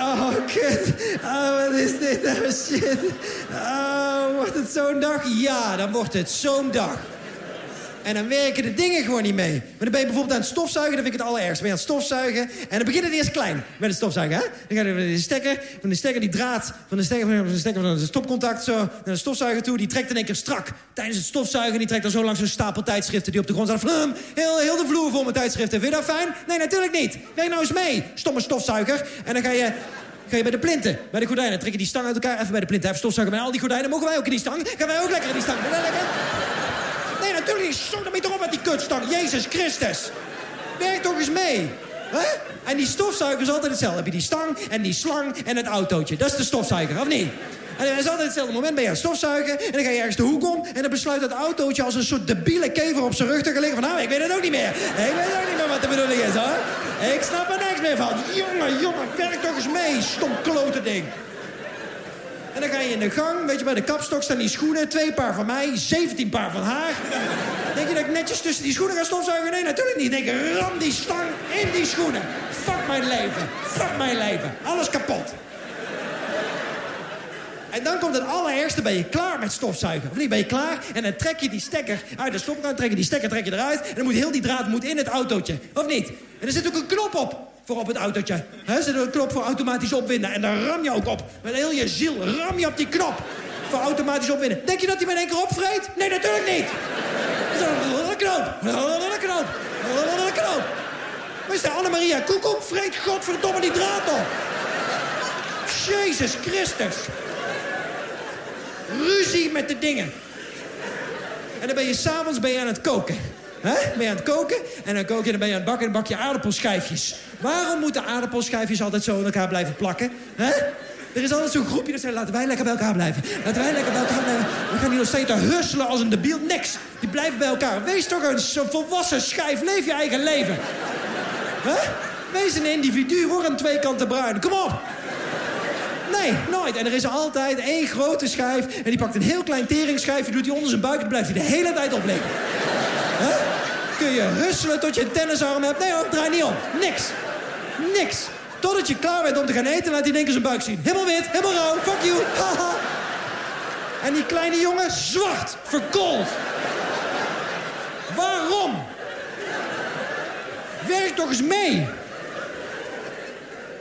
S5: Oh, kut. Oh, wat is dit nou? Shit. Oh, wordt het zo'n dag? Ja, dan wordt het zo'n dag. En dan werken de dingen gewoon niet mee. Maar dan ben je bijvoorbeeld aan het stofzuigen, dan vind ik het allerergst. Dan ben je aan het stofzuigen en dan begint het eerst klein met het stofzuigen. Hè? Dan ga je met de stekker, van de stekker die draad, van de stekker van de, stekker, van de stopcontact zo naar de stofzuiger toe. Die trekt in één keer strak tijdens het stofzuigen. Die trekt dan zo langs zo'n stapel tijdschriften die op de grond staan. Vlum, heel, heel de vloer vol met tijdschriften. Vind je dat fijn? Nee, natuurlijk niet. Werk nou eens mee, stomme stofzuiger. En dan ga je Ga je bij de plinten, bij de gordijnen, trek je die stang uit elkaar. Even bij de plinten, even stofzuigen bij al die gordijnen. Mogen wij ook in die stang? Gaan wij ook lekker in die stang? Vind je dat lekker? Nee, natuurlijk niet. Stop ermee toch op met die kutstang. Jezus Christus. Werk toch eens mee. hè? En die stofzuiger is altijd hetzelfde. Heb je die stang en die slang en het autootje. Dat is de stofzuiger, of niet? En dat is altijd hetzelfde moment. Ben je aan het stofzuigen en dan ga je ergens de hoek om... en dan besluit dat autootje als een soort debiele kever op zijn rug te gaan liggen... van nou, ik weet het ook niet meer. Ik weet ook niet meer wat de bedoeling is, hoor. Ik snap er niks meer van. Jongen, jongen, werk toch eens mee, stom klote ding. En dan ga je in de gang, weet je, bij de kapstok staan die schoenen. Twee paar van mij, 17 paar van haar. Denk je dat ik netjes tussen die schoenen ga stofzuigen? Nee, natuurlijk niet. Denk ik, ram die stang in die schoenen. Fuck mijn leven. Fuck mijn leven. Alles kapot. En dan komt het allerergste, ben je klaar met stofzuigen. Of niet, ben je klaar en dan trek je die stekker uit de stopkraan, trek je die stekker trek je eruit... en dan moet heel die draad moet in het autootje, of niet? En er zit ook een knop op voor op het autootje. He, er zit een knop voor automatisch opwinden en daar ram je ook op. Met heel je ziel ram je op die knop voor automatisch opwinden. Denk je dat hij met één keer opvreet? Nee, natuurlijk niet. Dat is een knoop, een knoop, een knoop. Maar is de Annemaria Koekoek? Vreet godverdomme die draad op. Jezus Christus ruzie met de dingen. En dan ben je s'avonds ben je aan het koken. hè? Ben je aan het koken en dan kook je, dan ben je aan het bakken en dan bak je aardappelschijfjes. Waarom moeten aardappelschijfjes altijd zo aan elkaar blijven plakken? hè? Er is altijd zo'n groepje dat zegt, laten wij lekker bij elkaar blijven. Laten wij lekker bij elkaar blijven. We gaan hier nog steeds te husselen als een debiel. Niks. Die blijven bij elkaar. Wees toch een zo'n volwassen schijf. Leef je eigen leven. hè? Wees een individu. Word een twee kanten bruin. Kom op. Nee, nooit. En er is altijd één grote schijf. En die pakt een heel klein teringschijfje, doet die onder zijn buik... en blijft hij de hele tijd opleven. Hè? Kun je husselen tot je een tennisarm hebt? Nee hoor, draai niet om. Niks. Niks. Totdat je klaar bent om te gaan eten, laat hij in één keer zijn buik zien. Helemaal wit, helemaal rauw, fuck you. Haha. En die kleine jongen, zwart, verkoold. Waarom? Werk toch eens mee.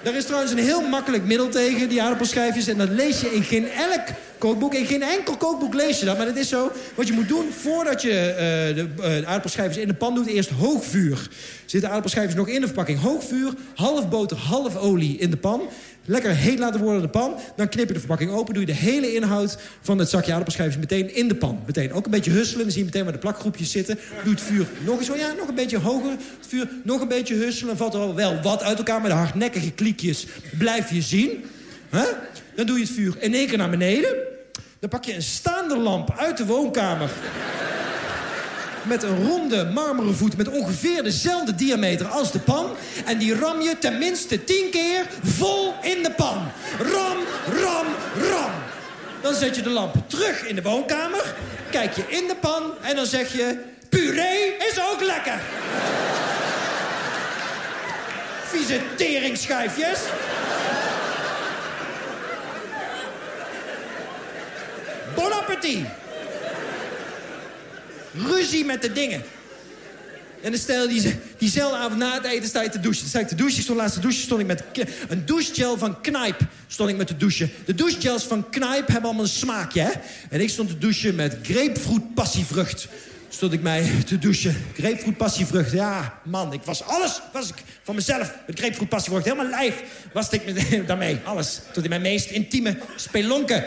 S5: Daar is trouwens een heel makkelijk middel tegen, die aardappelschijfjes. En dat lees je in geen elk kookboek. In geen enkel kookboek lees je dat. Maar dat is zo. Wat je moet doen voordat je eh, de eh, aardappelschijfjes in de pan doet... eerst hoog vuur. Zitten aardappelschijfjes nog in de verpakking? Hoog vuur, half boter, half olie in de pan. Lekker heet laten worden de pan. Dan knip je de verpakking open. Doe je de hele inhoud van het zakje aardappelschijfjes meteen in de pan. Meteen. Ook een beetje husselen. Dan zie je meteen waar de plakgroepjes zitten. Doe het vuur nog eens. oh Ja, nog een beetje hoger. Het vuur nog een beetje husselen. Valt er al wel wat uit elkaar. Maar de hardnekkige kliekjes blijf je zien. hè? Dan doe je het vuur in één keer naar beneden. Dan pak je een staande lamp uit de woonkamer met een ronde marmeren voet met ongeveer dezelfde diameter als de pan. En die ram je tenminste tien keer vol in de pan. Ram, ram, ram. Dan zet je de lamp terug in de woonkamer, kijk je in de pan en dan zeg je... Puree is ook lekker. Vieze teringschijfjes. Bon appetit ruzie met de dingen. En dan stel die, diezelfde avond na het eten sta je te douchen. Dan sta ik te douchen, ik stond laatste douche, stond ik met k- een douchegel van Knijp. Stond ik met te douchen. De douchegels van Knijp hebben allemaal een smaakje, hè? En ik stond te douchen met grapefruit passievrucht. Stond ik mij te douchen. Grapefruit passievrucht, ja, man. Ik was alles, was ik van mezelf. Met grapefruit passievrucht, helemaal lijf. Was ik met, daarmee, alles. Tot in mijn meest intieme spelonken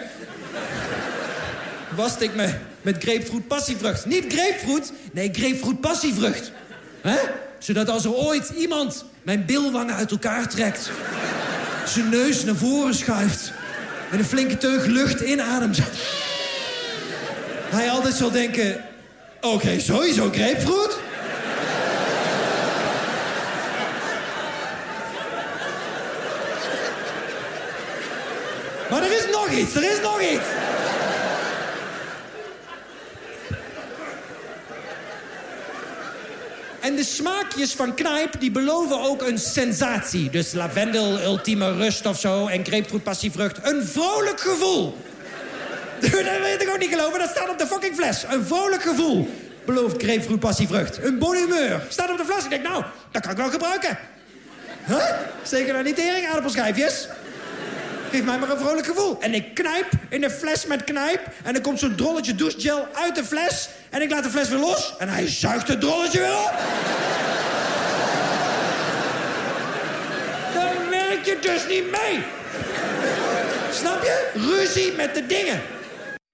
S5: waste ik me met grapefruit passievrucht. Niet grapefruit, nee, grapefruit passievrucht. hè? Zodat als er ooit iemand mijn bilwangen uit elkaar trekt... zijn neus naar voren schuift en een flinke teug lucht inademt... hij altijd zal denken... oké, sowieso grapefruit... nog iets, er is nog iets. En de smaakjes van knijp die beloven ook een sensatie. Dus lavendel, ultieme rust of zo en grapefruit passievrucht. Een vrolijk gevoel. dat weet ik ook niet geloven, dat staat op de fucking fles. Een vrolijk gevoel belooft grapefruit passievrucht. Een bon humeur staat op de fles. Ik denk, nou, dat kan ik wel gebruiken. Huh? Zeker dan niet tering, aardappelschijfjes. Geef mij maar een vrolijk gevoel. En ik knijp in de fles met knijp. En er komt zo'n drolletje douchegel uit de fles. En ik laat de fles weer los. En hij zuigt het drolletje weer op. Dan merk je dus niet mee. Snap je? Ruzie met de dingen.